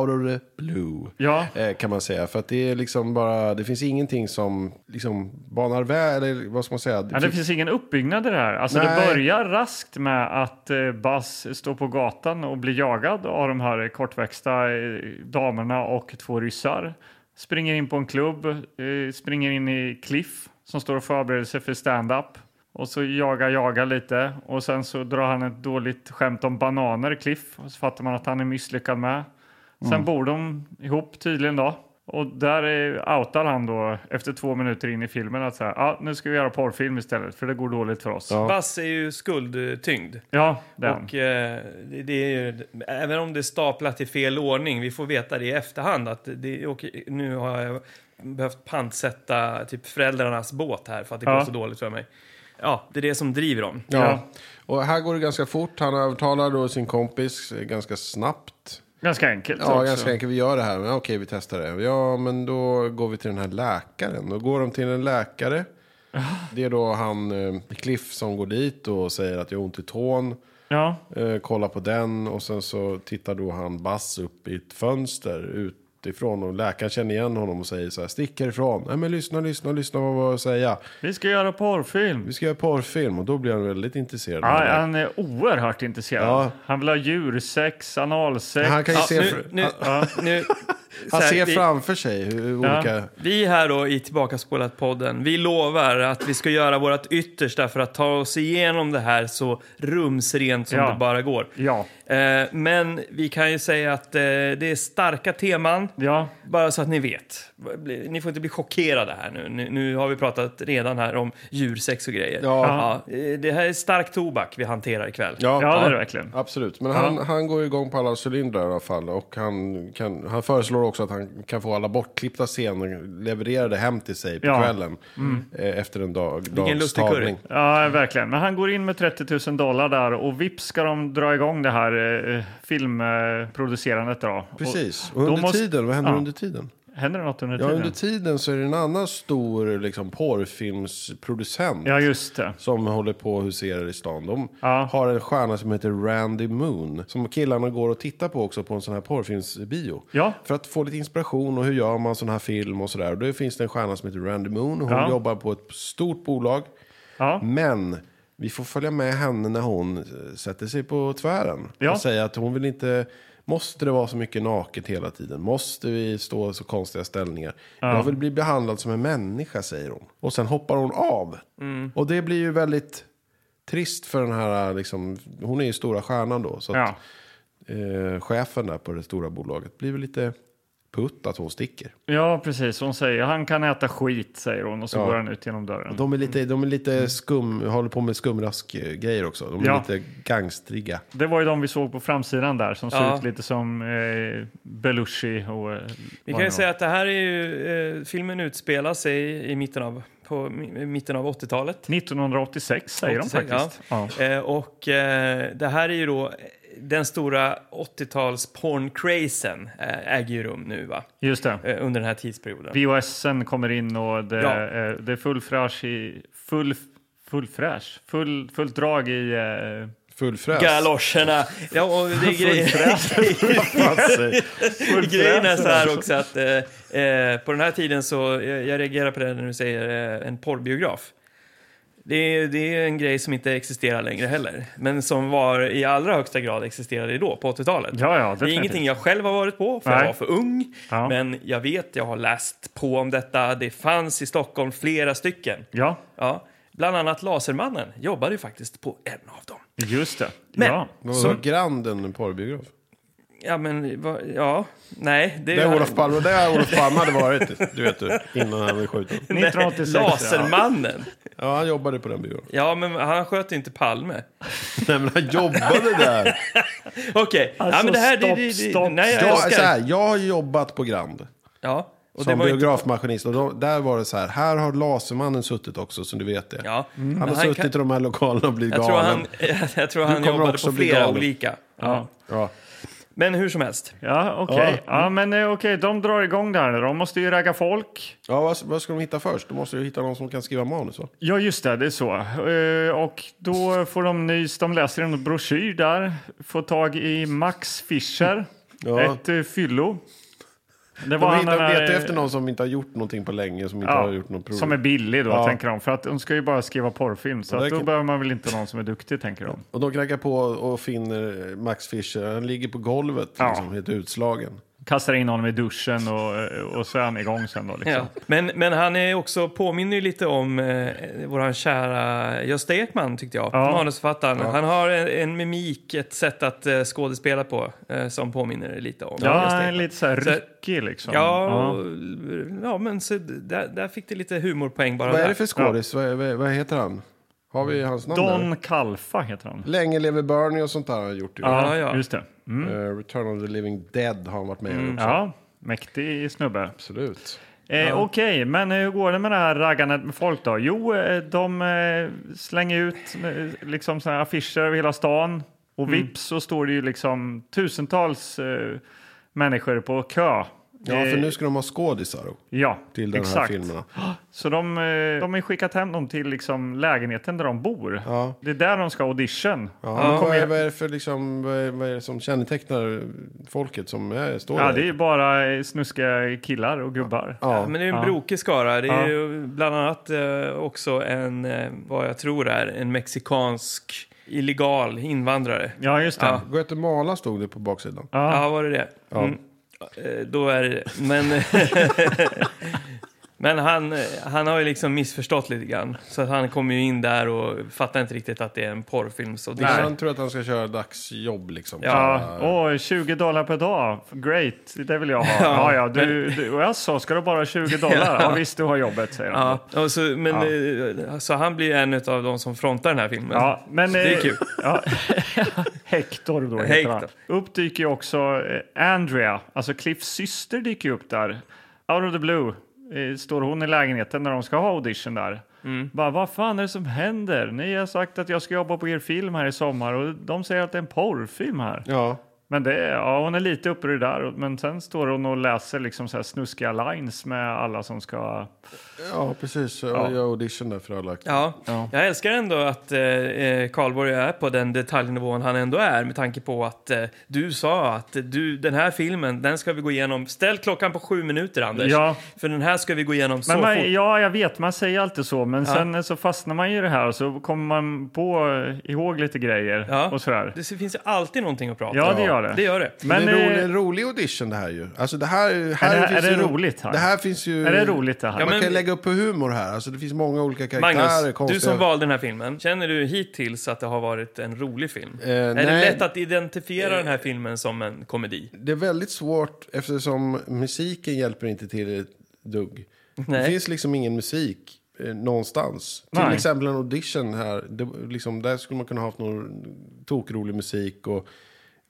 out of the blue. Ja. Eh, kan man säga. För att det är liksom bara, det finns ingenting som liksom banar väg, eller vad ska man säga? Ja, det finns ingen uppbyggnad i det här. Alltså, det Nej. börjar raskt med att eh, Buzz står på gatan och blir jagad av de här eh, kortväxta eh, damerna och två ryssar. Springer in på en klubb, eh, springer in i Cliff som står och förbereder sig för stand-up. Och så jagar, jagar lite och sen så drar han ett dåligt skämt om bananer, Cliff. Och så fattar man att han är misslyckad med. Sen Mm. bor de ihop tydligen då. Och där eh, outar han då efter två minuter in i filmen att så här, ah, nu ska vi göra porrfilm istället för det går dåligt för oss. Ja, Bass är ju skuldtyngd. den. Och, eh, det, det är ju, även om det är staplat i fel ordning, vi får veta det i efterhand att det, och nu har jag behövt pantsätta typ föräldrarnas båt här för att det Ja. går så dåligt för mig. Ja, det är det som driver dem. Ja. Och här går det ganska fort. Han övertalar då sin kompis eh, ganska snabbt. Ganska enkelt Ja, också. ganska enkelt. Vi gör det här. Men, okej, vi testar det. Ja, men då går vi till den här läkaren. Då går de till en läkare. Det är då han, eh, Cliff, som går dit och säger att jag har ont i tån. Ja, Eh, kolla på den och sen så tittar då han Bass upp i ett fönster utifrån och läkaren känner igen honom och säger så här, stick härifrån. Nej men lyssna, lyssna, lyssna vad vad jag säger. vi ska göra porrfilm. Vi ska göra porrfilm och då blir han väldigt intresserad. av Ja, det. han är oerhört intresserad. Ja. Han vill ha djursex, analsex. han kan ju Ja, se... nu, fr- nu, nu, Han här, ser vi- framför sig hur Ja. olika... Vi här då i Tillbakaspålat-podden, vi lovar att vi ska göra vårt yttersta för att ta oss igenom det här så rumsrent som Ja. det bara går. Ja. Eh, men vi kan ju säga att eh, det är starka teman, Ja, bara så att ni vet. Bli- Ni får inte bli chockerade här nu. Nu, nu har vi pratat redan här om djursex och grejer. Ja. Ja, eh, det här är stark tobak vi hanterar ikväll. Ja, ja, det är det verkligen. Absolut, men han, han går igång på alla cylindrar i alla fall. Och han, kan, han föreslår också att han kan få alla bortklippta scener levererade hem till sig på Ja. Mm. kvällen. Eh, efter en dag, Vilken dags lustig curry. tagning. Ja, verkligen. Men han går in med 30 000 dollar där och vips ska de dra igång det här eh, filmproducerandet. Då. Precis, Och och under då måste- tiden, vad händer ja. under tiden? Händer det något under Ja, tiden? under tiden så är det en annan stor liksom, porrfilmsproducent. Ja, just det. Som håller på och huserar i stan. De Ja. har en stjärna som heter Randy Moon. Som killarna går och tittar på också på en sån här porrfilmsbio. Ja. För att få lite inspiration och hur gör man sån här film och sådär. Och Då finns det en stjärna som heter Randy Moon. Hon Ja. jobbar på ett stort bolag. Ja. Men vi får följa med henne när hon eh, sätter sig på tvären. Ja. Och säga att hon vill inte... Måste det vara så mycket naket hela tiden? Måste vi stå i så konstiga ställningar? Jag vill bli behandlad som en människa, säger hon. Och sen hoppar hon av. Mm. Och det blir ju väldigt trist för den här, liksom, hon är ju stora stjärnan då. Så Ja. att, eh, chefen där på det stora bolaget blir väl lite putt att hon sticker. ja, precis. Hon säger han kan äta skit, säger hon, och så Ja. går han ut genom dörren. De är lite, de är lite skum, håller på med skumrask-grejer också. De är Mm. Ja. lite gangstriga. Det var ju de vi såg på framsidan där som Ja. såg ut lite som eh, Belushi och... eh, Vi vad kan ju det säga att det här är ju, eh, filmen utspelar sig i, i mitten av, på mi- mitten av 80-talet. var. 1986 säger 86, de faktiskt. Ja. Eh, och eh, det här är ju då eh, den stora 80-tals porncrazen eh, äger ju rum nu va? Just det. Eh, under den här tidsperioden. VHSen kommer in och det, Ja. eh, det är full fräsch i... Full, full fräsch? Full, fullt drag i... Eh, Full fräs. Galoscherna! Ja, och det är grejen, grejen är så här också att eh, eh, på den här tiden så, jag, jag reagerar på det när du säger eh, en porrbiograf. Det är, det är en grej som inte existerar längre heller, men som var i allra högsta grad existerade då, på 80-talet. ja, ja, Det är definitivt. ingenting jag själv har varit på, för jag Nej. var för ung. Ja. Men jag vet, jag har läst på om detta. Det fanns i Stockholm flera stycken. Ja, Ja. Bland annat Lasermannen jobbade ju faktiskt på en av dem. just det. Men- ja. Så Granden, en porrbiograf. Ja, men va, ja, nej. Det Det är han- Olof Palme, det är Olof Palme hade varit, du vet du, innan han blev skjuten. 1986. Ja. Lasermannen? Ja, han jobbade på den byrån. Ja, men han sköt ju inte Palme. Nej, men han jobbade där. Okej. ja, Alltså, men det här... det, stopp, det, det, stopp, nej, jag Jag, älskar så det. här, jag har jobbat på Grand. Ja, och det Som var ju inte... biografmaskinist. Och då, där var det så här, här har Lasermannen suttit också, som du vet det. Ja. Han har Men han suttit kan- i de här lokalerna och blivit Jag tror han, galen. jag tror han kommer jobbade också på bli flera galen. olika. Ja, Ja. Men hur som helst. ja okej. Ja. men eh, okej, de drar igång där nu. De måste ju ragga folk. Ja, vad, vad ska de hitta först? De måste ju hitta någon som kan skriva manus, va? Ja, just det, det är så. Eh, Och då får de nys, de läser en broschyr där, får tag i Max Fischer, Ja. ett eh, fyllo. Det De, var hittar- han den de här, letar eh, efter någon som inte har gjort någonting på länge, som inte ja, har gjort något prov. som är billig då, Ja. tänker de. För att de ska ju bara skriva porrfilm, så Ja, det att då kan- behöver man väl inte någon som är duktig, tänker de. Och de knackar på och finner Max Fischer. Han ligger på golvet, Ja. liksom, helt utslagen. Kastar in honom i duschen och, och så är han igång sen då. Liksom. Ja. Men, men han är också, påminner ju lite om eh, vår kära Gösta Ekman, tyckte jag. Ja. Manusförfattaren. Han har en, en mimik, ett sätt att eh, skådespela på eh, som påminner lite om Ja, Gösta han är Ekman. lite så här Så- ryckig liksom. Ja, och, ja, men så, där, där fick det lite humorpoäng bara. Vad är där. det för skådis? Vad, vad, vad heter han? Har vi hans namn där? Don Kalfa heter han. Länge lever Bernie och sånt där har han gjort. Ju. Ja, ja. Just det. Mm. Eh, Return of the Living Dead har han varit med i också. Ja, mäktig snubbe. Absolut. Eh, Okej, men hur går det med det här raggandet med folk då? Jo, eh, de eh, slänger ut eh, liksom såna här affischer över hela stan och Mm. vips så står det ju liksom tusentals eh, människor på kö. Ja, för Eh, nu ska de ha skådisar ja, till den exakt. här filmen. Så de, eh, de har ju skickat hem dem till liksom lägenheten där de bor. Ja. Det är där de ska audition. Ja, men vad, är, vad, är det för, liksom, vad, är, vad är det som kännetecknar folket som är, står Ja, där? det är ju bara eh, snuskiga killar och gubbar. Ja, men det är en brokig skara. Det är Ja. ju bland annat eh, också en, eh, vad jag tror är, en mexikansk illegal invandrare. Ja, just det. Ja. Guatemala stod det på baksidan. Ja, var det det? Mm. Eh, Då är det, men... men han, eh, han har ju liksom missförstått lite grann. Så att han kommer ju in där och fattar inte riktigt att det är en porrfilm. Så Nej. Han tror att han ska köra dagsjobb liksom. Ja, eh. åh, 20 dollar per dag. Great, det vill jag ha. Ja, ja, du, du, och jag sa, ska du bara ha 20 dollar? Ja, visst, du har jobbet, säger han. Ja, och så, men, eh, så han blir en av de som frontar den här filmen. Ja, men, det är eh, kul. Ja, Hector då heter han. Upp dyker ju också eh, Andrea, alltså Cliffs syster dyker ju upp där. Out of the blue eh, står hon i lägenheten när de ska ha audition där. Mm. Bara, vad fan är det som händer? Ni har sagt att jag ska jobba på er film här i sommar och de säger att det är en porrfilm här. Ja. Men det, är- ja, hon är lite upprörd där, och- men sen står hon och läser liksom så här snuskiga lines med alla som ska... ja, precis. Ja. Jag auditionade för alla. Ja, jag älskar ändå att eh, eh, Karlborg är på den detaljnivån han ändå är med tanke på att eh, du sa att du, den här filmen, den ska vi gå igenom. Ställ klockan på sju minuter, Anders. Ja. För den här ska vi gå igenom så Men fort. man, ja, jag vet, man säger alltid så, men sen så fastnar man ju i det här och så kommer man på eh, ihåg lite grejer Ja. och sådär. Det finns ju alltid någonting att prata Ja, om. det gör det. Det gör det. Men det är en rolig, eh, en rolig audition det här ju. Alltså det här, här Är det- finns är det ju ro- roligt här? Det här finns ju... är det roligt det här? Ja, Man men- kan ju lägga upp på humor här. Alltså det finns många olika karaktärer. Magnus, du konstiga- som valde den här filmen, känner du hittills att det har varit en rolig film? är det nej. lätt att identifiera den här filmen som en komedi? Det är väldigt svårt eftersom musiken hjälper inte till ett dugg. Det Nej. finns liksom ingen musik eh, någonstans. Till Nej. exempel en audition här. Det, liksom, där skulle man kunna ha haft någon tokrolig musik och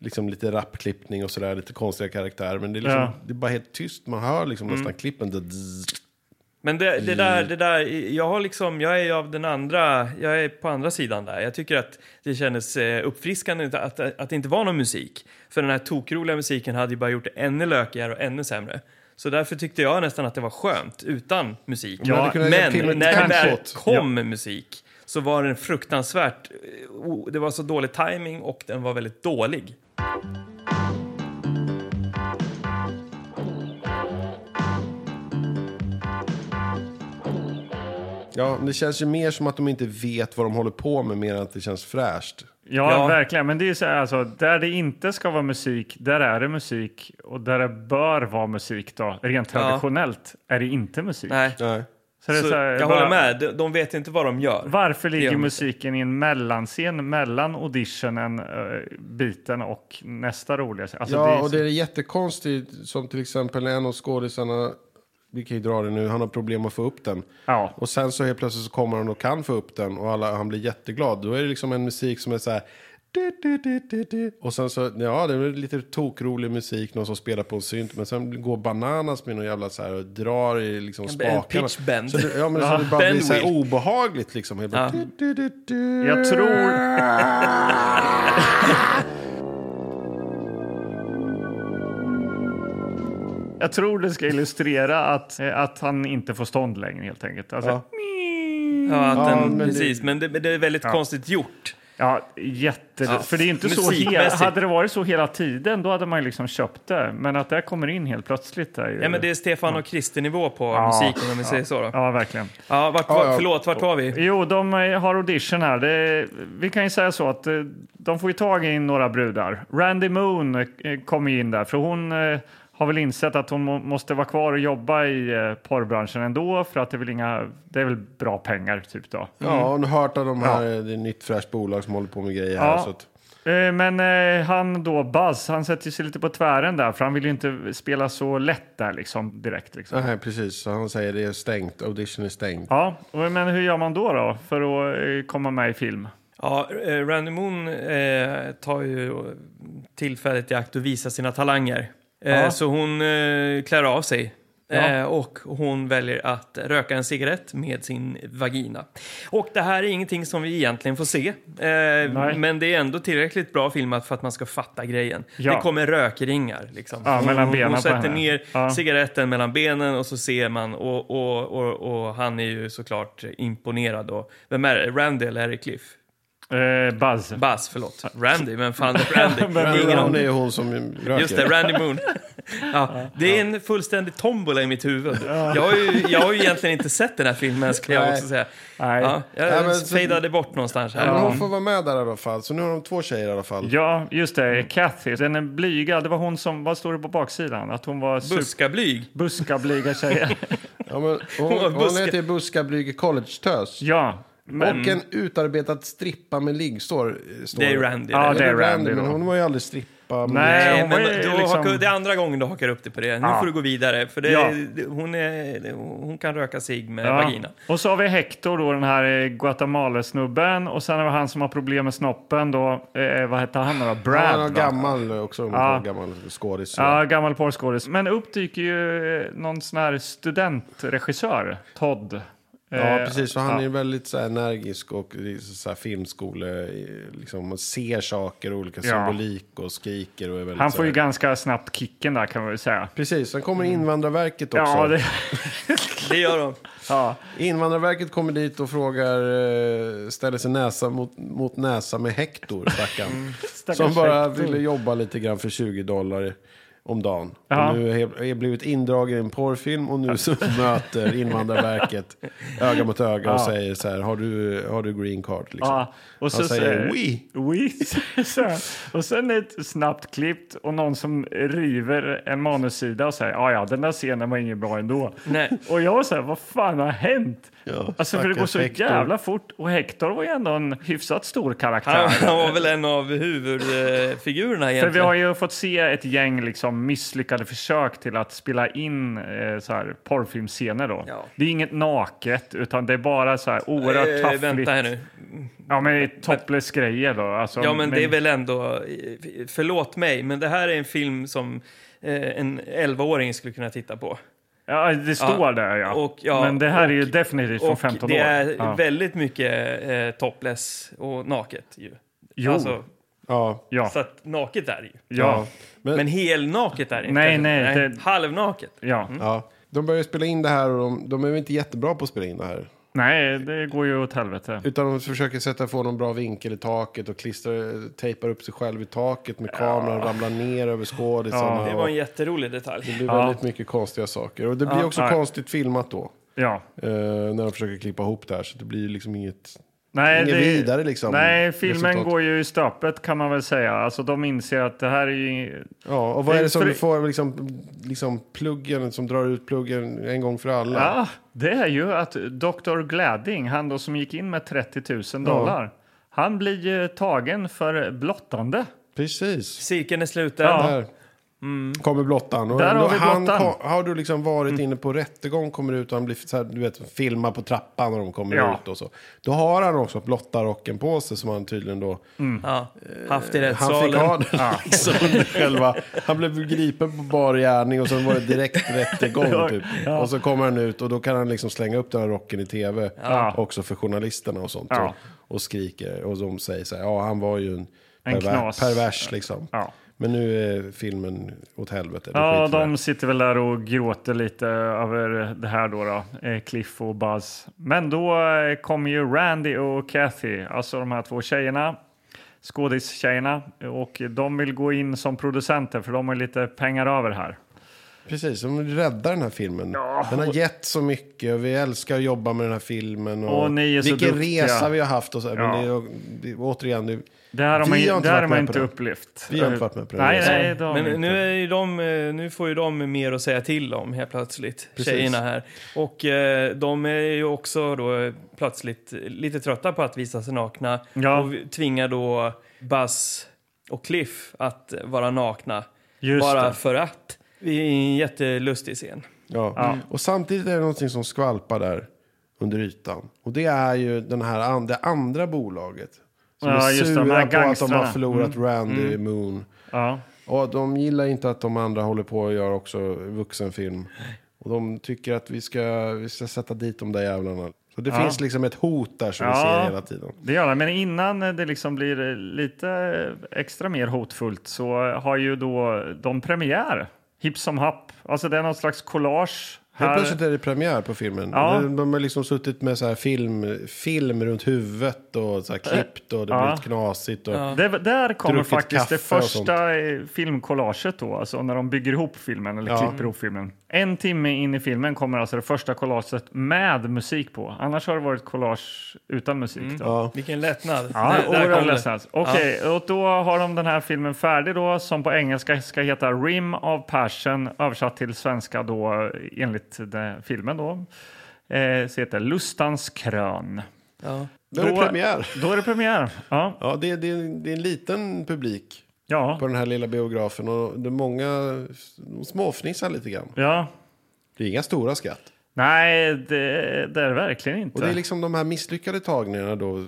liksom lite rappklippning och sådär. Lite konstiga karaktärer. Men det är, liksom, Ja. Mm. det är bara helt tyst. Man hör liksom nästan klippen. Det, dzz. Men det, det där, det där, jag har liksom, jag är ju av den andra, jag är på andra sidan där. Jag tycker att det kändes eh, uppfriskande att, att, att det inte var någon musik. För den här tokroliga musiken hade ju bara gjort det ännu lökigare och ännu sämre. Så därför tyckte jag nästan att det var skönt utan musik. hade Ja, kunnat hjälpa till men med när det väl tempot. kom musik så var den fruktansvärt, eh, o- det var så dålig timing och den var väldigt dålig. Ja, det känns ju mer som att de inte vet vad de håller på med. Mer än att det känns fräscht. Ja, Ja. verkligen. Men det är ju så här, alltså, där det inte ska vara musik, där är det musik. Och där det bör vara musik då, rent traditionellt, är det inte musik. Nej, Nej. Så det är så så här, jag bara- håller med, de, de vet inte vad de gör. Varför gör ligger de inte. musiken i en mellanscen mellan auditionen, eh, biten och nästa roliga? scen? Alltså, ja, det är och så- det är jättekonstigt. Som till exempel en av skådisarna, vi kan ju dra det nu, han har problem att få upp den. Ja. Och sen så helt plötsligt så kommer han och kan få upp den och alla, han blir jätteglad. Då är det liksom en musik som är så här... Du, du, du, du, du. Och sen så, ja det är lite tokrolig musik, någon som spelar på en synt. Men sen går Bananas med någon jävla så här och drar i liksom blir en spakarna. pitch bend. Så det, ja men så det bara blir så här Bendwheel. obehagligt liksom. Helt ja. du, du, du, du. Jag tror... Jag tror det ska illustrera att, eh, att han inte får stånd längre helt enkelt. Alltså, ja. Ja, att Ja, den, men det- precis. Men det, men det är väldigt konstigt gjort. jätte... För det är inte så... Hela, musikmässigt. hade det varit så hela tiden, då hade man ju liksom köpt det. Men att det här kommer in helt plötsligt är ju... Ja, men det är Stefan och Krister-nivå på musiken om vi säger så. Då. Ja. Ja, verkligen. vart, var, Ja, ja. Förlåt, vart var vi? Jo, de eh, har audition här. Det, vi kan ju säga så att eh, de får ju tag i några brudar. Randy Moon eh, kommer ju in där, för hon eh, har väl insett att hon må- måste vara kvar och jobba i eh, porrbranschen ändå, för att det är väl, inga, det är väl bra pengar typ då. Ja, och nu hört av de här, det är ett nytt fräscht bolag som håller på med grejer här. Ja. Så att, Eh, Men eh, han då, Buzz, han sätter sig lite på tvären där, för han vill ju inte spela så lätt där liksom direkt. Liksom. Nej, precis. Så han säger det är stängt. Audition är stängt. Ja, och- men hur gör man då då för att eh, komma med i film? Ja, eh, Randy Moon eh, tar ju tillfället i akt och visar sina talanger. Eh, Ja. så hon eh, klär av sig. Eh, och hon väljer att röka en cigarett med sin vagina. Och det här är ingenting som vi egentligen får se. Eh, men det är ändå tillräckligt bra filmat för att man ska fatta grejen. Ja. Det kommer rökringar. Liksom. Ja, mellan hon, benen hon på sätter henne. ner Ja. cigaretten mellan benen och så ser man och, och, och, och han är ju såklart imponerad. Och, vem är det? Randy eller Harry Cliff? Eh, Buzz. Buzz, förlåt. Randy, men fan Randy? Randy Ingen Brown aning. är ju hon som röker. Just det, Randy Moon. Ja, det är en fullständig tombola i mitt huvud. Jag, har ju, jag har ju egentligen inte sett den här filmen, skulle jag Nej. också säga. Nej. Ja, jag Ja, men så- fadade bort någonstans. Här. Men hon får vara med där i alla fall. Så nu har de två tjejer i alla fall. Ja, just det. Kathy, den är blyga. Det var hon som, vad står det på baksidan? Att hon var super- Buskablyg. buskablyga tjejer. Ja, men hon, var hon buske. heter Buskablyge College-tös. ja, men... Och en utarbetad strippa med liggsår. eh, står Det är Randy. Ja, det. det- är Eller Randy då. men hon var ju aldrig strippa. med Nej, Nej, hon men var ju du liksom- hakar, det är andra gången du hakar upp dig på det. Nu Ja. får du gå vidare, för det, Ja. det- hon, är, hon kan röka sig med Ja. vagina. Och så har vi Hector, då, den här eh, Guatemala-snubben. Och sen har vi han som har problem med snoppen. Då, eh, vad hette han? Då? Brad? Han var va? gammal också, Ja. ja. gammal skådis. Ja, gammal porrskådis. Men upp dyker ju eh, någon sån här studentregissör, Todd. Ja, Eh, precis. Så han ja. är ju väldigt så här, energisk och så här, filmskole... Liksom, och ser saker och olika Ja. symbolik och skriker och är väldigt Han så får ju här- ganska snabbt kicken där kan man väl säga. Precis, sen kommer Invandrarverket också. Mm. Ja, det, Det gör de. ja. Invandrarverket kommer dit och frågar, eh, ställer sig näsa mot, mot näsa med Hector, stackarn. som bara Mm, Hector. ville jobba lite grann för 20 dollar om dagen. Ja. Och nu är he- är blivit indragen i en porrfilm och nu så möter Invandrarverket öga mot öga och säger så här, har du, har du green card? Liksom. Ja, och så Han säger så- oui. Oui, så här. Och sen ett snabbt klippt och någon som river en manussida och säger ja, ja, den där scenen var ingen bra ändå. Nej. Och jag var så här, vad fan har hänt? alltså för det stackars går så Hector. jävla fort. Och Hector var ju ändå en hyfsat stor karaktär. Han, han var väl en av huvudfigurerna För egentligen. vi har ju fått se ett gäng liksom misslyckade försök till att spela in eh, så här, porrfilmscener. Då. Ja. Det är inget naket, utan det är bara så här oerhört Eh, taffligt. vänta här nu. Ja, men det är topless grejer då. Alltså, Ja, men det är väl ändå... Förlåt mig, men det här är en film som eh, en 11-åring skulle kunna titta på. Ja, det står där ja. Och, ja, Men det här är ju och- definitivt från Och 15 det år. är ja. väldigt mycket eh, topless och naket ju. Jo, Alltså, Ja. ja, så att naket är det ju. ja, Men, Men helnaket är det Nej, inte. nej, det- Halvnaket. ja. ja. De börjar spela in det här och de, de är väl inte jättebra på att spela in det här. Nej, det går ju åt helvete. Utan de försöker sätta få någon bra vinkel i taket och klistrar, tejpar upp sig själv i taket med kameran, ramlar ner över skådisarna. Det var en jätterolig detalj. Det blir väldigt mycket konstiga saker. Och det blir också nej. konstigt filmat då. Ja. eh, när de försöker klippa ihop det här. Så det blir liksom inget... Nej, Inget vidare, liksom, Nej, filmen resultat. går ju i stöpet kan man väl säga. Alltså de inser att det här är ju... Ja, och vad Det- är det som för- du får liksom, liksom pluggen som drar ut pluggen en gång för alla? Ja, det är ju att Dr. Glading, han då som gick in med 30 000 dollar, han blir ju tagen för blottande. Precis. Cirkeln är sluten. Ja. Mm. Där. Kommer blottan. Och Där har då- vi han blottan. Mm. ko- har du liksom varit inne på rättegång, kommer ut och han blir så här, du vet, filmar på trappan när de kommer Ja. ut och så. Då har han också blottarrocken på sig som han tydligen då... Ja. Haft i Han fick ha rättssalen. den liksom under själva... Han blev gripen på bar gärning och sen var det direkt rättegång typ. Och så kommer han ut och då kan han liksom slänga upp den här rocken i tv också för journalisterna och sånt. Ja. Och, och skriker och de säger så här, ja han var ju en, En knas. pervers liksom. Ja. Men nu är filmen åt helvete. det Ja, skiter vi de sitter väl där och gråter lite över det här då, då. eh, Cliff och Buzz. Men då eh, kommer ju Randy och Kathy, alltså de här två tjejerna, skådistjejerna, och de vill gå in som producenter för de har lite pengar över här. i. Precis, de räddar den här filmen. Den har gett så mycket och vi älskar att jobba med den här filmen. Och, Och ni är så vilken duktiga. resa vi har haft och så. här. Men Ja. det, är- det, återigen, det, Det här har man, vi ju- har inte det här varit har man med inte på det. upplevt. Vi har inte varit med på det. Nej, nej, det har man Men inte. nu, är ju de, eh, nu får ju de mer att säga till om helt plötsligt, tjejerna här. Och eh, de är ju också då eh, plötsligt lite trötta på att visa sig nakna Ja. och vi- tvingar då Buzz och Cliff att vara nakna. Just bara det. för att. Det är en jättelustig scen. Ja. Och samtidigt är det någonting som skvalpar där under ytan. Och det är ju den här, an- det andra bolaget. Som Ja, är just det, sura de här på att de gangstrarna. Mm. har förlorat Randy Moon. Ja. Och de gillar inte att de andra håller på och gör också vuxenfilm. Och de tycker att vi ska, vi ska sätta dit de där jävlarna. Så det finns liksom ett hot där som vi Ja. ser hela tiden. Det gör det, men innan det liksom blir lite extra mer hotfullt så har ju då de premiär, hipp som happ. Alltså det är någon slags collage Helt plötsligt är det premiär på filmen. Ja. De, de har liksom suttit med så här film, film runt huvudet och så Äh. här klippt och det blir lite knasigt. Och, Det, där kommer Druckit faktiskt det kaffe och första eh, filmcollaget då, alltså när de bygger ihop filmen eller Ja. klipper ihop filmen. En timme in i filmen kommer alltså det första collaget med musik på. Annars har det varit collage utan musik. Mm. Då. Vilken lättnad. Ja, Där- där Oral kom det. Lessons. Okej, och då har de den här filmen färdig då som på engelska ska heta Rim of Passion översatt till svenska då enligt den filmen då. Eh, så heter Lustans krön. Då är det premiär. Då är det premiär. Ja. Ja, det, det, det är en liten publik Ja. på den här lilla biografen och det är många de småfnissar lite grann. ja. Det är inga stora skratt. Nej, det, det är det verkligen inte. Och det är liksom de här misslyckade tagningarna då.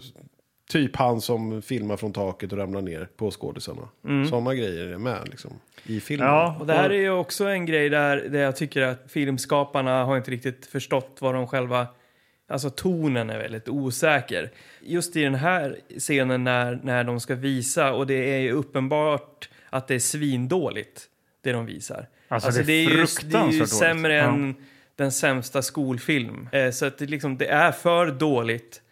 Typ han som filmar från taket och ramlar ner på skådisarna. Sådana grejer är med liksom, i filmen. Mm. ja, Och det här är ju också en grej där, där jag tycker att filmskaparna har inte riktigt förstått vad de själva... Alltså tonen är väldigt osäker. Just i den här scenen när, när de ska visa och det är ju uppenbart att det är svindåligt, det de visar. Alltså, det är ju, det är ju fruktansvärt sämre dåligt. än den sämsta skolfilm. Eh, så att det, liksom, det är för dåligt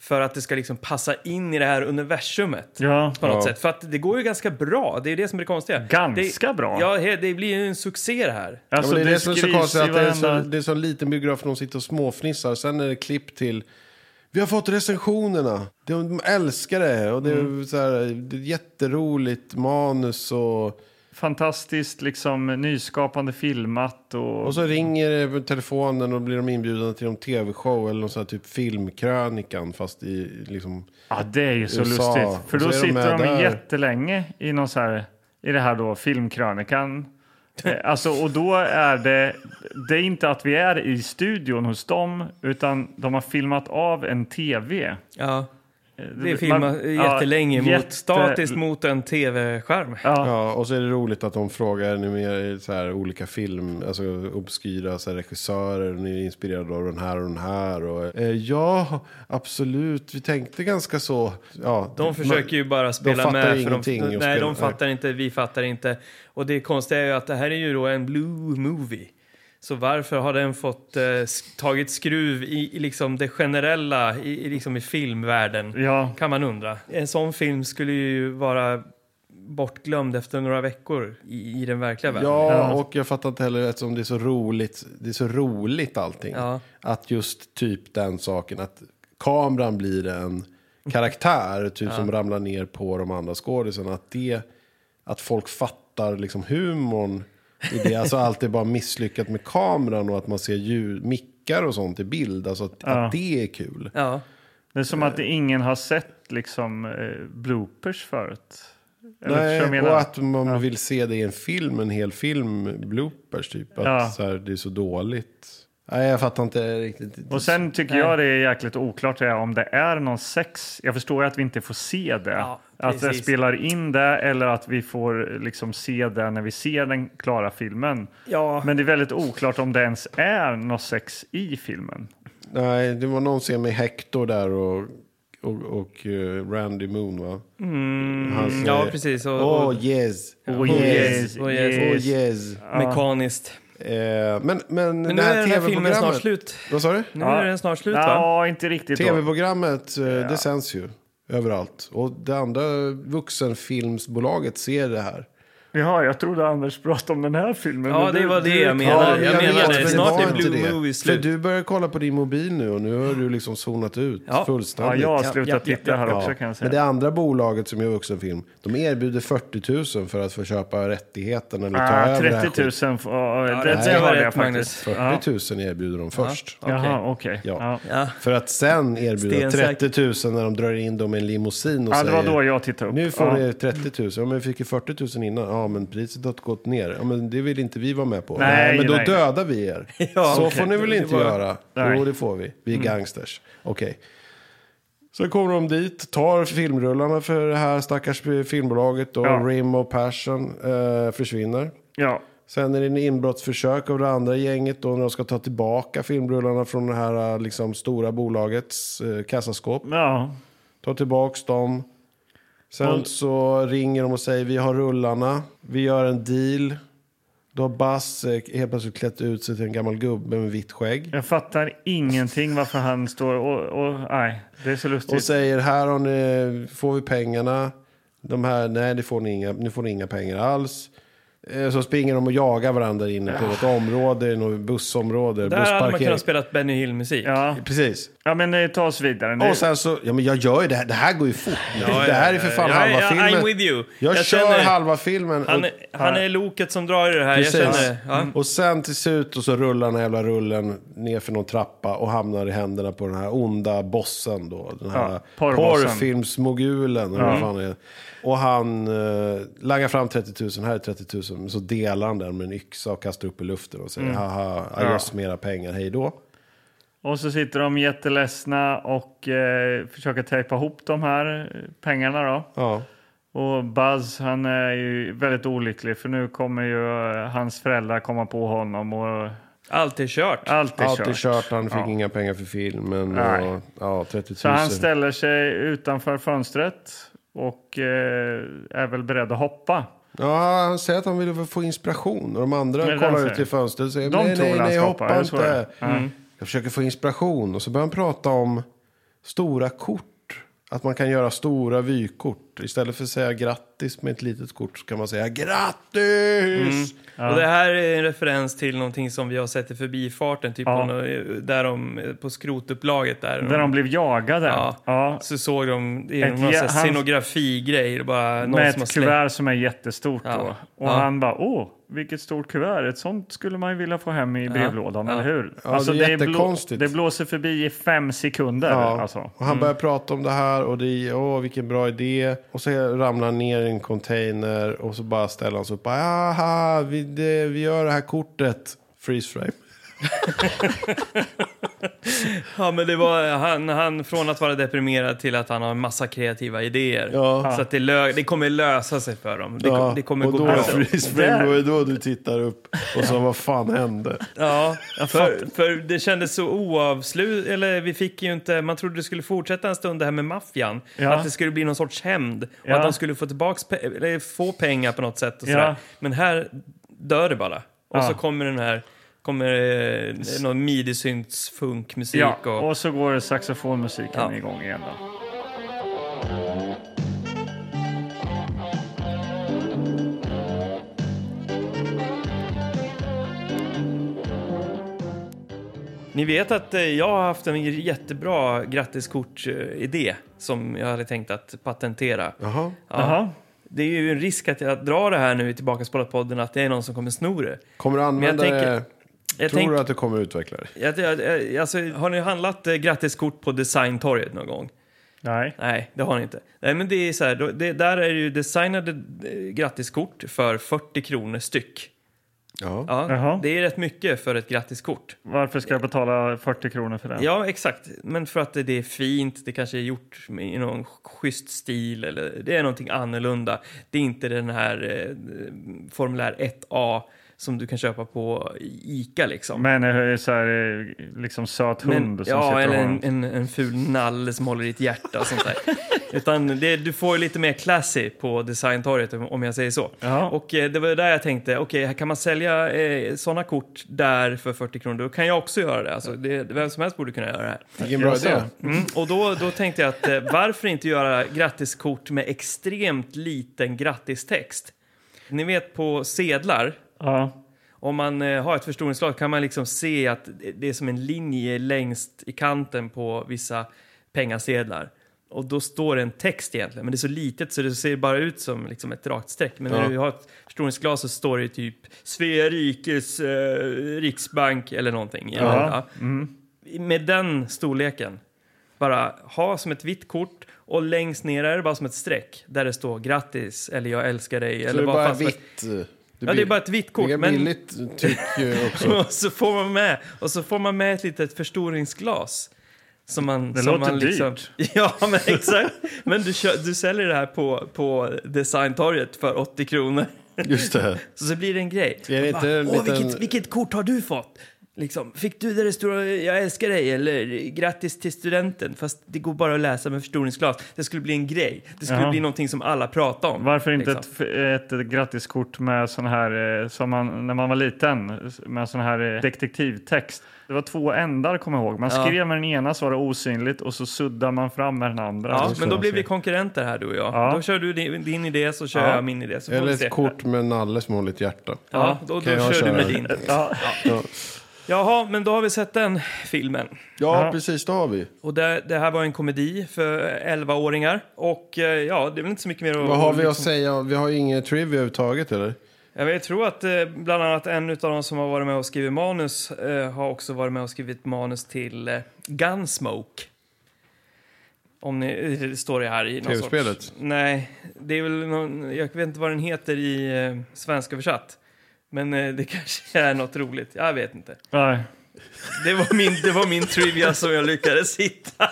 för att det ska liksom passa in i det här universumet. Ja. På något Ja. sätt. För att det går ju ganska bra. Det är det som är det konstiga. Ganska det, bra. Ja, he- det blir ju en succé det här. Ja, Alltså, men det är det det som är så skrivs konstigt, i att det är så, varenda- det är så en liten biograf där de sitter och småfnissar. Sen är det klipp till, vi har fått recensionerna, de älskar det och det är, Mm. så här, det är ett jätteroligt manus och, fantastiskt liksom nyskapande filmat och... och så ringer det på telefonen och blir de inbjudna till en tv-show eller någon sån här typ filmkrönikan fast i liksom, Ja, det är ju så USA. lustigt. För Och så då är de sitter med de, där. jättelänge i någon så här, i det här då filmkrönikan. Eh, Alltså, och då är det, det är inte att vi är i studion hos dem, utan de har filmat av en tv. Ja. Det är man- filmat ja, jättelänge mot, jätte- statiskt mot en tv-skärm. ja och så är det roligt att de frågar, ni mer så här olika film, alltså obskyra så här, regissörer, ni är inspirerade av den här och den här och, eh, ja, absolut, vi tänkte ganska så, ja. De försöker ju bara spela fattar med. ju för ingenting och de, nej, spelar- de fattar inte, vi fattar inte. Och det konstiga är ju att det här är ju då en blue movie. Så varför har den fått eh, sk- tagit skruv i, i liksom det generella, i, i, liksom i filmvärlden? Ja. Kan man undra. En sån film skulle ju vara bortglömd efter några veckor i, i den verkliga världen. Ja, och jag fattar inte heller eftersom det är så roligt, det är så roligt allting. Ja. Att just typ den saken, att kameran blir en karaktär typ som ramlar ner på de andra skådisarna. Att, det, att folk fattar liksom humorn i det. Alltså allt är bara misslyckat med kameran och att man ser ljud, mickar och sånt i bild. Alltså att, att det är kul. Ja. Det är som att Eh. ingen har sett liksom eh, bloopers förut. Eller förstår du vad Nej, jag och menar? att man vill se det i en film, en hel film, bloopers typ. Att Ja. så här, det är så dåligt. Nej, jag fattar inte riktigt. Och sen tycker jag det är jäkligt oklart det här, om det är någon sex. Jag förstår ju att vi inte får se det. Ja, att det precis. spelar in det eller att vi får liksom se det när vi ser den klara filmen. Ja. Men det är väldigt oklart om det ens är något sex i filmen. Nej, det var någon scen med Hector där och, och, och eh, Randy Moon va? Han säger, ja, precis, och- oh, och- yes. Oh yes, Oh yes. yes. Oh yes. Mekaniskt. Eh, men, men, Men nu är den här filmen snart TV-programmet- slut. Vad sa du? Nu Ja. är den snart slut va? Ja, inte riktigt. då. TV-programmet, eh, det sänds ju överallt. Och det andra vuxenfilmsbolaget ser det här. Jaha, jag trodde Anders pratade om den här filmen. Ja, Men det du- var du- det jag menade. Ja, Jag menar vet, det. men Snart var är inte Blue Movie För slut. du börjar kolla på din mobil nu och nu har du liksom zonat ut Ja. Ja, fullständigt. jag har slutat Ja, ja, titta här Ja, också kan jag säga. Men det andra bolaget som gör vuxenfilm, de erbjuder 40 000 för att få köpa rättigheten eller ta Ah, över det här 30 000. skiten. ja, det det, det, var var rätt, det Magnus. faktiskt. 40 000 erbjuder de först. Jaha, okej. Ja. Ja. För att sen erbjuda Stensäkert. 30 000 när de drar in dem i en limousin och Ja, det säger var då jag tittade upp. nu får ja. ni 30 000. Ja, men vi fick ju 40 000 innan. Ja, men priset har gått ner. Ja, men det vill inte vi vara med på. Nej, men då nej. dödar vi er. Ja, så okej. får ni väl Det inte var- göra? Nej. Mm. Jo, det får vi. Vi är gangsters. Okej. Sen kommer de dit, tar filmrullarna för det här stackars filmbolaget och Ja. Rim och Passion eh, försvinner. Ja. Sen är det en inbrottsförsök av det andra gänget då när de ska ta tillbaka filmrullarna från det här eh, liksom, stora bolagets eh, kassaskåp. ja. Ta tillbaks dem. Sen Och- så ringer de och säger vi har rullarna. Vi gör en deal. Då har Buzz eh, helt plötsligt klätt ut sig till en gammal gubbe med vitt skägg. Jag fattar ingenting varför han står och... och nej, det är så lustigt. Och säger här har ni, får vi pengarna. De här, nej det får ni inga, nu får ni inga pengar alls. Eh, Så springer de och jagar varandra inne på något område, något bussområde, Där hade man bussparkering. kunnat spela Benny Hill-musik. ja. Precis. ja, men eh, ta oss vidare nu. Och sen så, ja men jag gör ju det här, det här går ju fort. det här är för fan ja, halva ja, filmen. I'm with you. Jag, Jag kör känner- halva filmen. Han, och, är- han är loket som drar i det här, Precis. Mm. jag känner det. Ja. Mm. och sen till slut och så rullar den här jävla rullen ner för någon trappa och hamnar i händerna på den här onda bossen då. Den här Ja, porrbossen. porrfilmsmogulen. eller vad fan det är. Och han eh, langar fram 30 000, här är 30 000. men Så delar han den med en yxa och kastar upp i luften och Mm. säger haha, adjöss med mera pengar, hej då. Och så sitter de jätteledsna och eh, försöker tejpa ihop de här eh, pengarna då. Ja. Och Buzz han är ju väldigt olycklig för nu kommer ju eh, hans föräldrar komma på honom och Allt är kört. allt är Allt är kört. kört, han fick Ja. inga pengar för filmen. Nej. Och, ja, 30 000. Så han ställer sig utanför fönstret och eh, är väl beredd att hoppa. Ja, han säger att han ville få inspiration. Och de andra Det är det han kollar ut säger. i fönstret och säger De nej, tror nej, han nej, ska hoppa hoppa, jag Mm. tror inte. det. Jag försöker få inspiration. Och så börjar han prata om stora kort. Att man kan göra stora vykort. Istället för att säga grattis med ett litet kort så kan man säga grattis! Mm. Och det här är en referens till någonting som vi har sett i förbifarten, typ Ja. på nå- där de, på skrotuplaget där. Där de blev jagade. ja. Ja. Så såg de, det är Ett någon sån jä- här han- scenografigrej, det är bara någon Med som har ett släppt. kuvert som är jättestort Ja. då. Och Ja. han bara, åh, vilket stort kuvert. Ett sånt skulle man ju vilja få hem i brevlådan, eller hur? Alltså, Ja, det är blå- jättekonstigt. det blåser förbi i fem sekunder. Ja. Alltså. Och han Mm. börjar prata om det här och det är, åh vilken bra idé. Och så ramlar han ner i en container och så bara ställer han sig upp. Aha, vi, det, vi gör det här kortet. Freeze frame. Ja, men det var han, han från att vara deprimerad till att han har en massa kreativa idéer. Ja. Så att det, lö, det kommer lösa sig för dem. Det, Ja, kom- det kommer och gå då bra. Alltså, är freeze frame, då är det då du tittar upp och så vad fan hände? Ja, för, för det kändes så oavslut, eller vi fick ju inte, man trodde det skulle fortsätta en stund det här med maffian. Ja. Att det skulle bli någon sorts hämnd och Ja. att de skulle få tillbaks, pe- eller få pengar på något sätt och sådär. Ja. Men här dör det bara. Och Ja. så kommer den här, kommer eh, någon midi-synts funkmusik Ja, och, och så går saxofonmusiken Ja. igång igen. Då. Ni vet att eh, jag har haft en jättebra grattiskort-idé som jag hade tänkt att patentera. Jaha. Jaha. Det är ju en risk att jag drar det här nu i Tillbaka podden att det är någon som kommer sno det. Kommer du använda Men jag tänker- det? Jag Tror tänk- du att du kommer utveckla det? Jag, jag, jag, alltså, har ni handlat eh, grattiskort på Designtorget någon gång? Nej. Nej, det har ni inte. Nej, men det är så här, då- det, där är det ju designade eh, grattiskort för 40 kronor styck. Ja. Ja, Jaha. Det är rätt mycket för ett grattiskort. Varför ska jag betala 40 kronor för den? Ja, exakt. Men för att det, det är fint, det kanske är gjort med- i någon schysst stil eller det är någonting annorlunda. Det är inte den här eh, formulär 1A som du kan köpa på Ica liksom. Men är det så här, eh, liksom söt hund som ja, sitter eller och har en, en... en, en ful nalle som håller i ditt hjärta och sånt där. Utan det, du får ju lite mer classy på designtorget om- om jag säger så. Ja. Och eh, det var ju där jag tänkte, okej, här kan man sälja eh, sådana kort där för 40 kronor, då kan jag också göra det. Alltså, det. Vem som helst borde kunna göra det här. Vilken bra Jag ser. idé. Mm, och då, då tänkte jag att eh, varför inte göra grattiskort med extremt liten grattistext? Ni vet på sedlar, Ja. om man eh, har ett förstoringsglas kan man liksom se att det är som en linje längst i kanten på vissa pengasedlar. Och då står det en text egentligen, men det är så litet så det ser bara ut som liksom ett rakt streck. Men när du har ett förstoringsglas så står det typ Svea rikes eh, riksbank eller någonting. Eller, ja. Mm. Med den storleken, bara ha som ett vitt kort och längst ner är det bara som ett streck där det står grattis eller jag älskar dig. Så eller det är vad bara fan som helst. vitt. eh, Det Ja, det är bara ett vitt kort. Det är Men, billigt tyck eh, också. och så får man med och så får man med ett litet förstoringsglas. Som man, Det som låter man liksom, Ja, men exakt. Men du, kö, du säljer det här på, på designtorget för 80 kronor. Just det. Så, så blir det en grej. Är det Och inte en Åh, liten- vilket, vilket kort har du fått? Liksom, fick du där det står “Jag älskar dig” eller “Grattis till studenten” fast det går bara att läsa med förstoringsglas. Det skulle bli en grej. Det skulle Jaha. bli någonting som alla pratar om. Varför inte liksom. ett, ett grattiskort med sån här, eh, som man, när man var liten, med sån här eh, detektivtext? Det var två ändar, kommer jag ihåg. Man Ja. skrev med den ena så var det osynligt och så suddar man fram med den andra. Ja, Så- men då blir vi konkurrenter här du och jag. Ja. Då kör du din, din idé så kör Ja. jag min idé. Så får Eller vi ett se. kort med Nalles mål i ett hjärta. Ja, då, då Kan jag kör du köra? med din. Ja. Jaha, men då har vi sett den filmen. Ja, Ja. precis. Då har vi. Och det, det här var en komedi för 11-åringar. Och eh, ja, det är väl inte så mycket mer att... Vad har vi att liksom- säga? Vi har ju inget trivia överhuvudtaget, eller? Jag vet, tror att eh, bland annat en av de som har varit med och skrivit manus eh, har också varit med och skrivit manus till eh, Gunsmoke. Om ni, eh, det står det här i någon TV-spelet? sorts... Nej, det är väl någon, jag vet inte vad den heter i eh, svenska översatt. Men eh, det kanske är något roligt. Jag vet inte. Nej. Det var min, det var min trivia som jag lyckades hitta.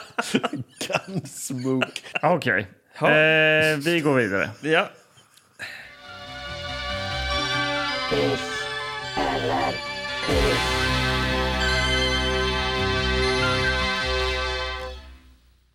Gunsmoke. Ah, Okej. Ja. Eh, vi går vidare. Ja. Kiss eller kiss.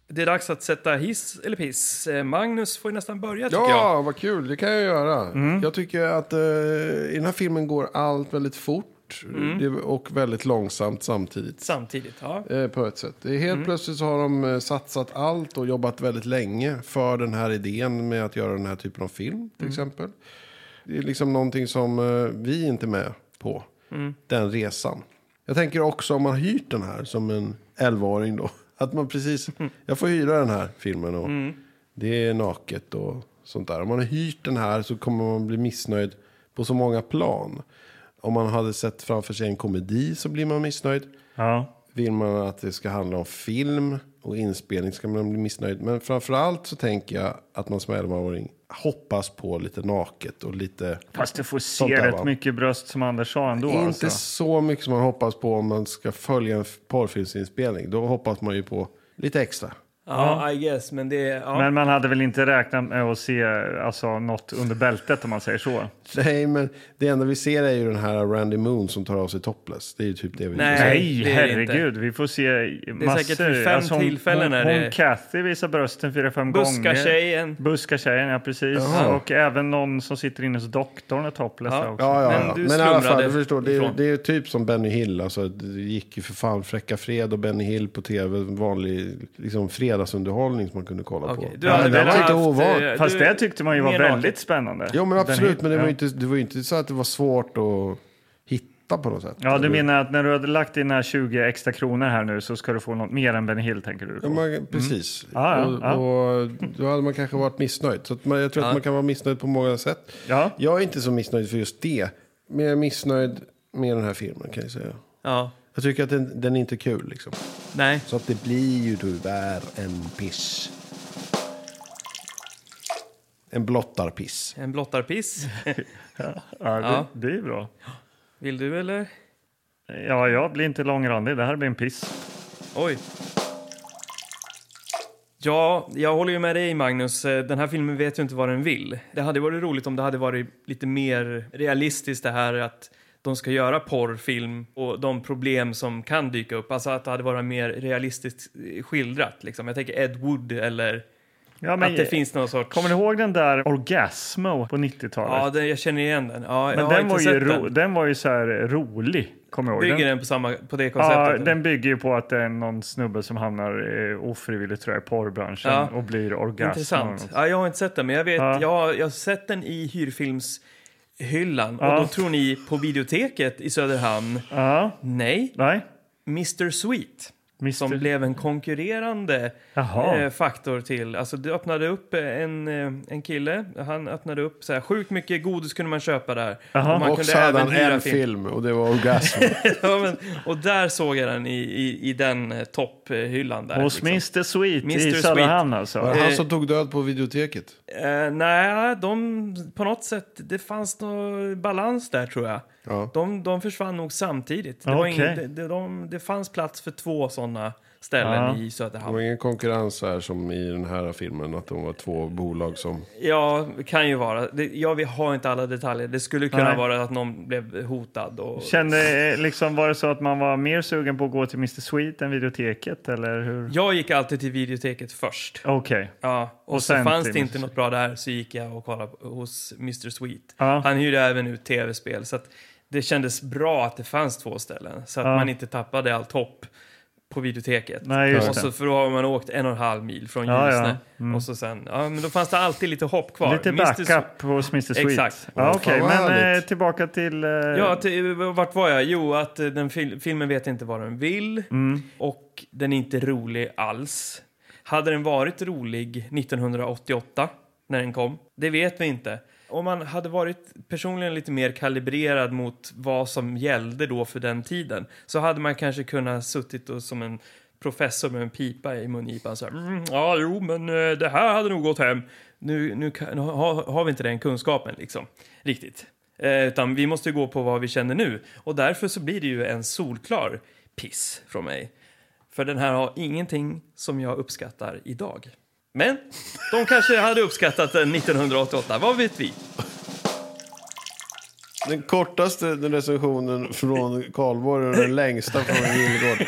Det är dags att sätta hiss eller piss. Eh, Magnus får ju nästan börja tycker jag. Mm. Ja, vad kul. Det kan jag göra. Jag tycker att eh, i den här filmen går allt väldigt fort Mm. det, och väldigt långsamt samtidigt. Samtidigt, ja. Eh, på ett sätt. Det är helt plötsligt så har de eh, satsat allt och jobbat väldigt länge för den här idén med att göra den här typen av film till exempel. Det är liksom någonting som eh, vi inte är med på. Den resan. Jag tänker också om man har hyrt den här som en 11-åring då. Att man precis, jag får hyra den här filmen och det är naket och sånt där. Om man har hyrt den här så kommer man bli missnöjd på så många plan. Om man hade sett framför sig en komedi så blir man missnöjd. Ja. Vill man att det ska handla om film och inspelning ska man bli missnöjd. Men framför allt så tänker jag att man som 11-åring hoppas på lite naket och lite... Fast du får Sånt se där, rätt va? mycket bröst som Anders sa ändå. inte alltså. så mycket som man hoppas på om man ska följa en f- porrfilmsinspelning. Då hoppas man ju på lite extra. Ja, I guess, men det är... Ja. Men man hade väl inte räknat med att se alltså, något under bältet om man säger så. Nej, men det enda vi ser är ju den här Randy Moon som tar av sig topless. Det är ju typ det vi Nej. Nej, det är det inte. herregud. Vi får se massor. Alltså, säkert vid fem hon, tillfällen Hon, är hon det- Kathy visar brösten fyra, fem gånger. Buskartjejen. Buskartjejen, ja precis. Jaha. Och även någon som sitter inne hos doktorn är topless Ja. där också. Ja, ja, Men ja. du Men, i alla fall, slumrade du förstår, det, är- ifrån. det är ju typ som Benny Hill. Alltså, det gick ju för fan Fräcka Fred och Benny Hill på tv. Vanlig liksom, fredagsunderhållning som man kunde kolla Okej, på. du hade Men det väl var inte haft, ovanligt. eh, Fast du- det tyckte man ju var mer väldigt naket. spännande. Jo, men Den absolut. hit- Men det var, ja. ju inte, det var ju inte så att det var svårt att hitta på något sätt. Ja, du menar att när du hade lagt dina 20 extra kronor här nu så ska du få något mer än Benny Hill, tänker du? Ja, Då? man, precis. Mm. Ja, ja, och, ja. och då hade man kanske varit missnöjd. Så att man, jag tror att man kan vara missnöjd på många sätt. Ja. Jag är inte så missnöjd för just det. Men jag är missnöjd med den här filmen kan jag säga. Ja. Jag tycker att den, den är inte kul liksom. Nej. Så att det blir ju tyvärr en piss. En blottarpiss. En blottarpiss. Ja, det, Ja. det är ju bra. Vill du eller? Ja, jag blir inte långrandig. Det här blir en piss. Oj. Ja, jag håller ju med dig Magnus. Eh, Den här filmen vet ju inte vad den vill. Det hade varit roligt om det hade varit lite mer realistiskt det här att de ska göra porrfilm och de problem som kan dyka upp. Alltså att det hade varit mer realistiskt eh, skildrat. Liksom. Jag tänker Ed Wood eller Ja, att det finns någon sorts... eh, Kommer ni ihåg den där Orgasmo på 90-talet? Ja, den, jag känner igen den. Ja, jag Men har den inte var, ju sett ro, den. den var ju så här eh, rolig, kommer jag ihåg. Bygger Den, den på, samma, på det konceptet? ja, den bygger ju på att det är någon snubbe som hamnar eh, ofrivilligt tror jag, i porrbranschen Ja. och blir orgasm. Intressant. Ja, jag har inte sett den, men jag, vet, Ja. jag, har, jag har sett den i hyrfilmshyllan. Ja. Och då tror ni på biblioteket i Söderhamn. Ja, Nej, nej. Mr Sweet. Som Mr. blev en konkurrerande Jaha. eh, faktor till... Alltså det öppnade upp eh, en, eh, en kille. Han öppnade upp så här, sjukt mycket godis kunde man köpa där. Jaha. Och man Och kunde så hade även han hyra en film. film och det var Orgasm. ja, men, och där såg jag den i, i, i den eh, topphyllan där. Hos Mr. Sweet Mr. i liksom. Sweet. Söderhamn alltså. Var det han som tog död på videoteket? Eh, nej, de, på något sätt, det fanns någon balans där tror jag. Ja. De, de försvann nog samtidigt. Det, var Okej. ingen, det, det, de, det fanns plats för två sådana ställen Ja. i Det Söderhamn. var ingen konkurrens här som i den här filmen, att de var två bolag som... Ja, kan ju vara. Det, ja, vi har inte alla detaljer. Det skulle kunna Nej. vara att någon blev hotad. Och... Kände, eh, liksom, var det så att man var mer sugen på att gå till Mr. Sweet än videoteket? Eller hur? Jag gick alltid till videoteket först. Okej. Ja, och, Och så sen fanns till det inte Mr. något bra där så gick jag och kollade på- hos Mr. Sweet. Ja. Han hyrde även ut tv-spel så att det kändes bra att det fanns två ställen så att Ja. man inte tappade allt hopp på videoteket. Nej, just och det. så, för då har man åkt en och en halv mil från Ja, Ljusne. ja. Mm. Och så sen, ja, men då fanns det alltid lite hopp kvar. Lite Mr. Swe- backup hos Mr. Sweet. Exakt. Ja, Okej, Fan, vad men eh, härligt. tillbaka till... eh, Ja, till, vart var jag? Jo, att eh, den fil filmen vet inte vad den vill och den är inte rolig alls. Hade den varit rolig 1988 när den kom? Det vet vi inte. Om man hade varit personligen lite mer kalibrerad mot vad som gällde då för den tiden så hade man kanske kunnat suttit och som en professor med en pipa i mungipan så här, mm, ja, jo, men eh, det här hade nog gått hem. Nu, nu, kan, nu har, har vi inte den kunskapen liksom, riktigt. Eh, utan vi måste ju gå på vad vi känner nu. Och därför så blir det ju en solklar piss från mig. För den här har ingenting som jag uppskattar idag. Men de kanske hade uppskattat den 1988, vad vet vi? Den kortaste recensionen från Karlborg och den längsta från Gillegård.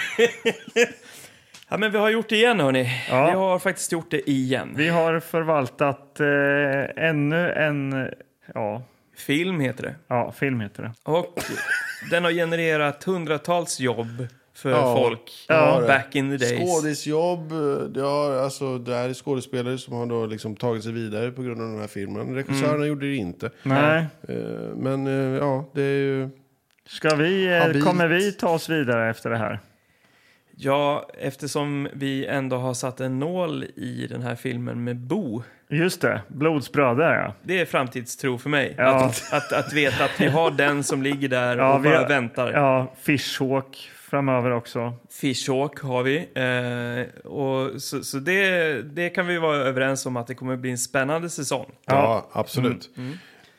Ja, men vi har gjort det igen hörni. Vi har faktiskt gjort det igen. Vi har förvaltat eh, ännu en... eh, Ja, Film heter det. ja, film heter det. Och den har genererat hundratals jobb för Ja, folk det har det. back in the days. Skådisjobb, det, har, alltså, det här är skådespelare som har då liksom tagit sig vidare på grund av den här filmen. Regissörerna Mm. gjorde det inte. Nej. Eh, Men eh, ja, det är ju... Ska vi, eh, Habilt. kommer vi ta oss vidare efter det här? Ja, eftersom vi ändå har satt en nål i den här filmen med Bo. Just det, blodsbröder ja. Det är framtidstro för mig. Ja. Att, att, att veta att vi har den som ligger där Ja, och vi bara har- väntar. Ja, Fishhawk framöver också. Fishhawk har vi. Eh, och så så det, det kan vi vara överens om att det kommer bli en spännande säsong. Ja, absolut.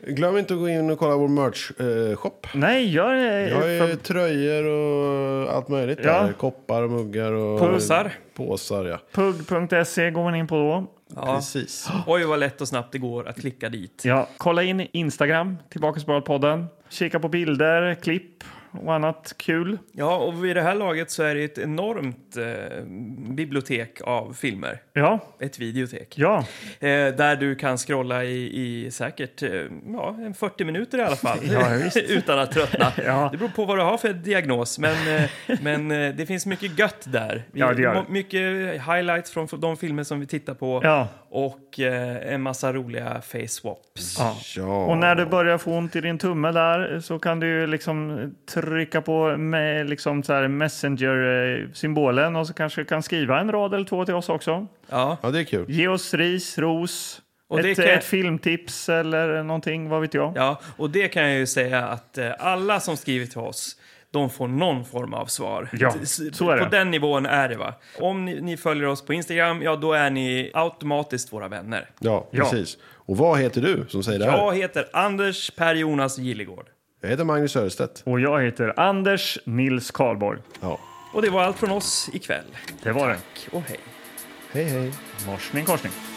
Glöm inte att gå in och kolla vår merch-shop. Nej, gör Jag har ju tröjor och allt möjligt Ja. där. Koppar, muggar och... Påsar. Påsar, ja. Pug.se går man in på då. Ja. Precis. Oj, vad lätt och snabbt det går att klicka dit. Ja, kolla in Instagram, tillbaka podden. Kika på bilder, klipp och annat kul. Ja, och vid det här laget så är det ett enormt eh, bibliotek av filmer. Ja, Ett videotek. ja. Eh, där du kan scrolla i, i säkert eh, ja, en 40 minuter i alla fall utan att tröttna. Ja. Det beror på vad du har för diagnos, men, eh, men eh, det finns mycket gött där. Vi- Ja, det gör må- det. Mycket highlights från de filmer som vi tittar på ja. och eh, en massa roliga face swaps. ja. Ja. Och när du börjar få ont i din tumme där så kan du ju liksom trycka på me- liksom så här messenger-symbolen och så kanske du kan skriva en rad eller två till oss också. Ja. Ja, det är kul. Ge oss ris, ros, Och det ett, kan- ett filmtips eller någonting, vad vet jag. Ja, och det kan jag ju säga att eh, alla som skriver till oss de får någon form av svar. Ja, S- så är det. På den nivån är det va. Om ni, ni följer oss på Instagram, ja då är ni automatiskt våra vänner. Ja, Ja. precis. Och vad heter du som säger det här? Jag heter Anders Per Jonas Gilligård. Jag heter Magnus Örestedt. Och jag heter Anders Nils Karlborg. Ja. Och det var allt från oss ikväll. Det var det. Och hej. Hej, hej. Morsning korsning.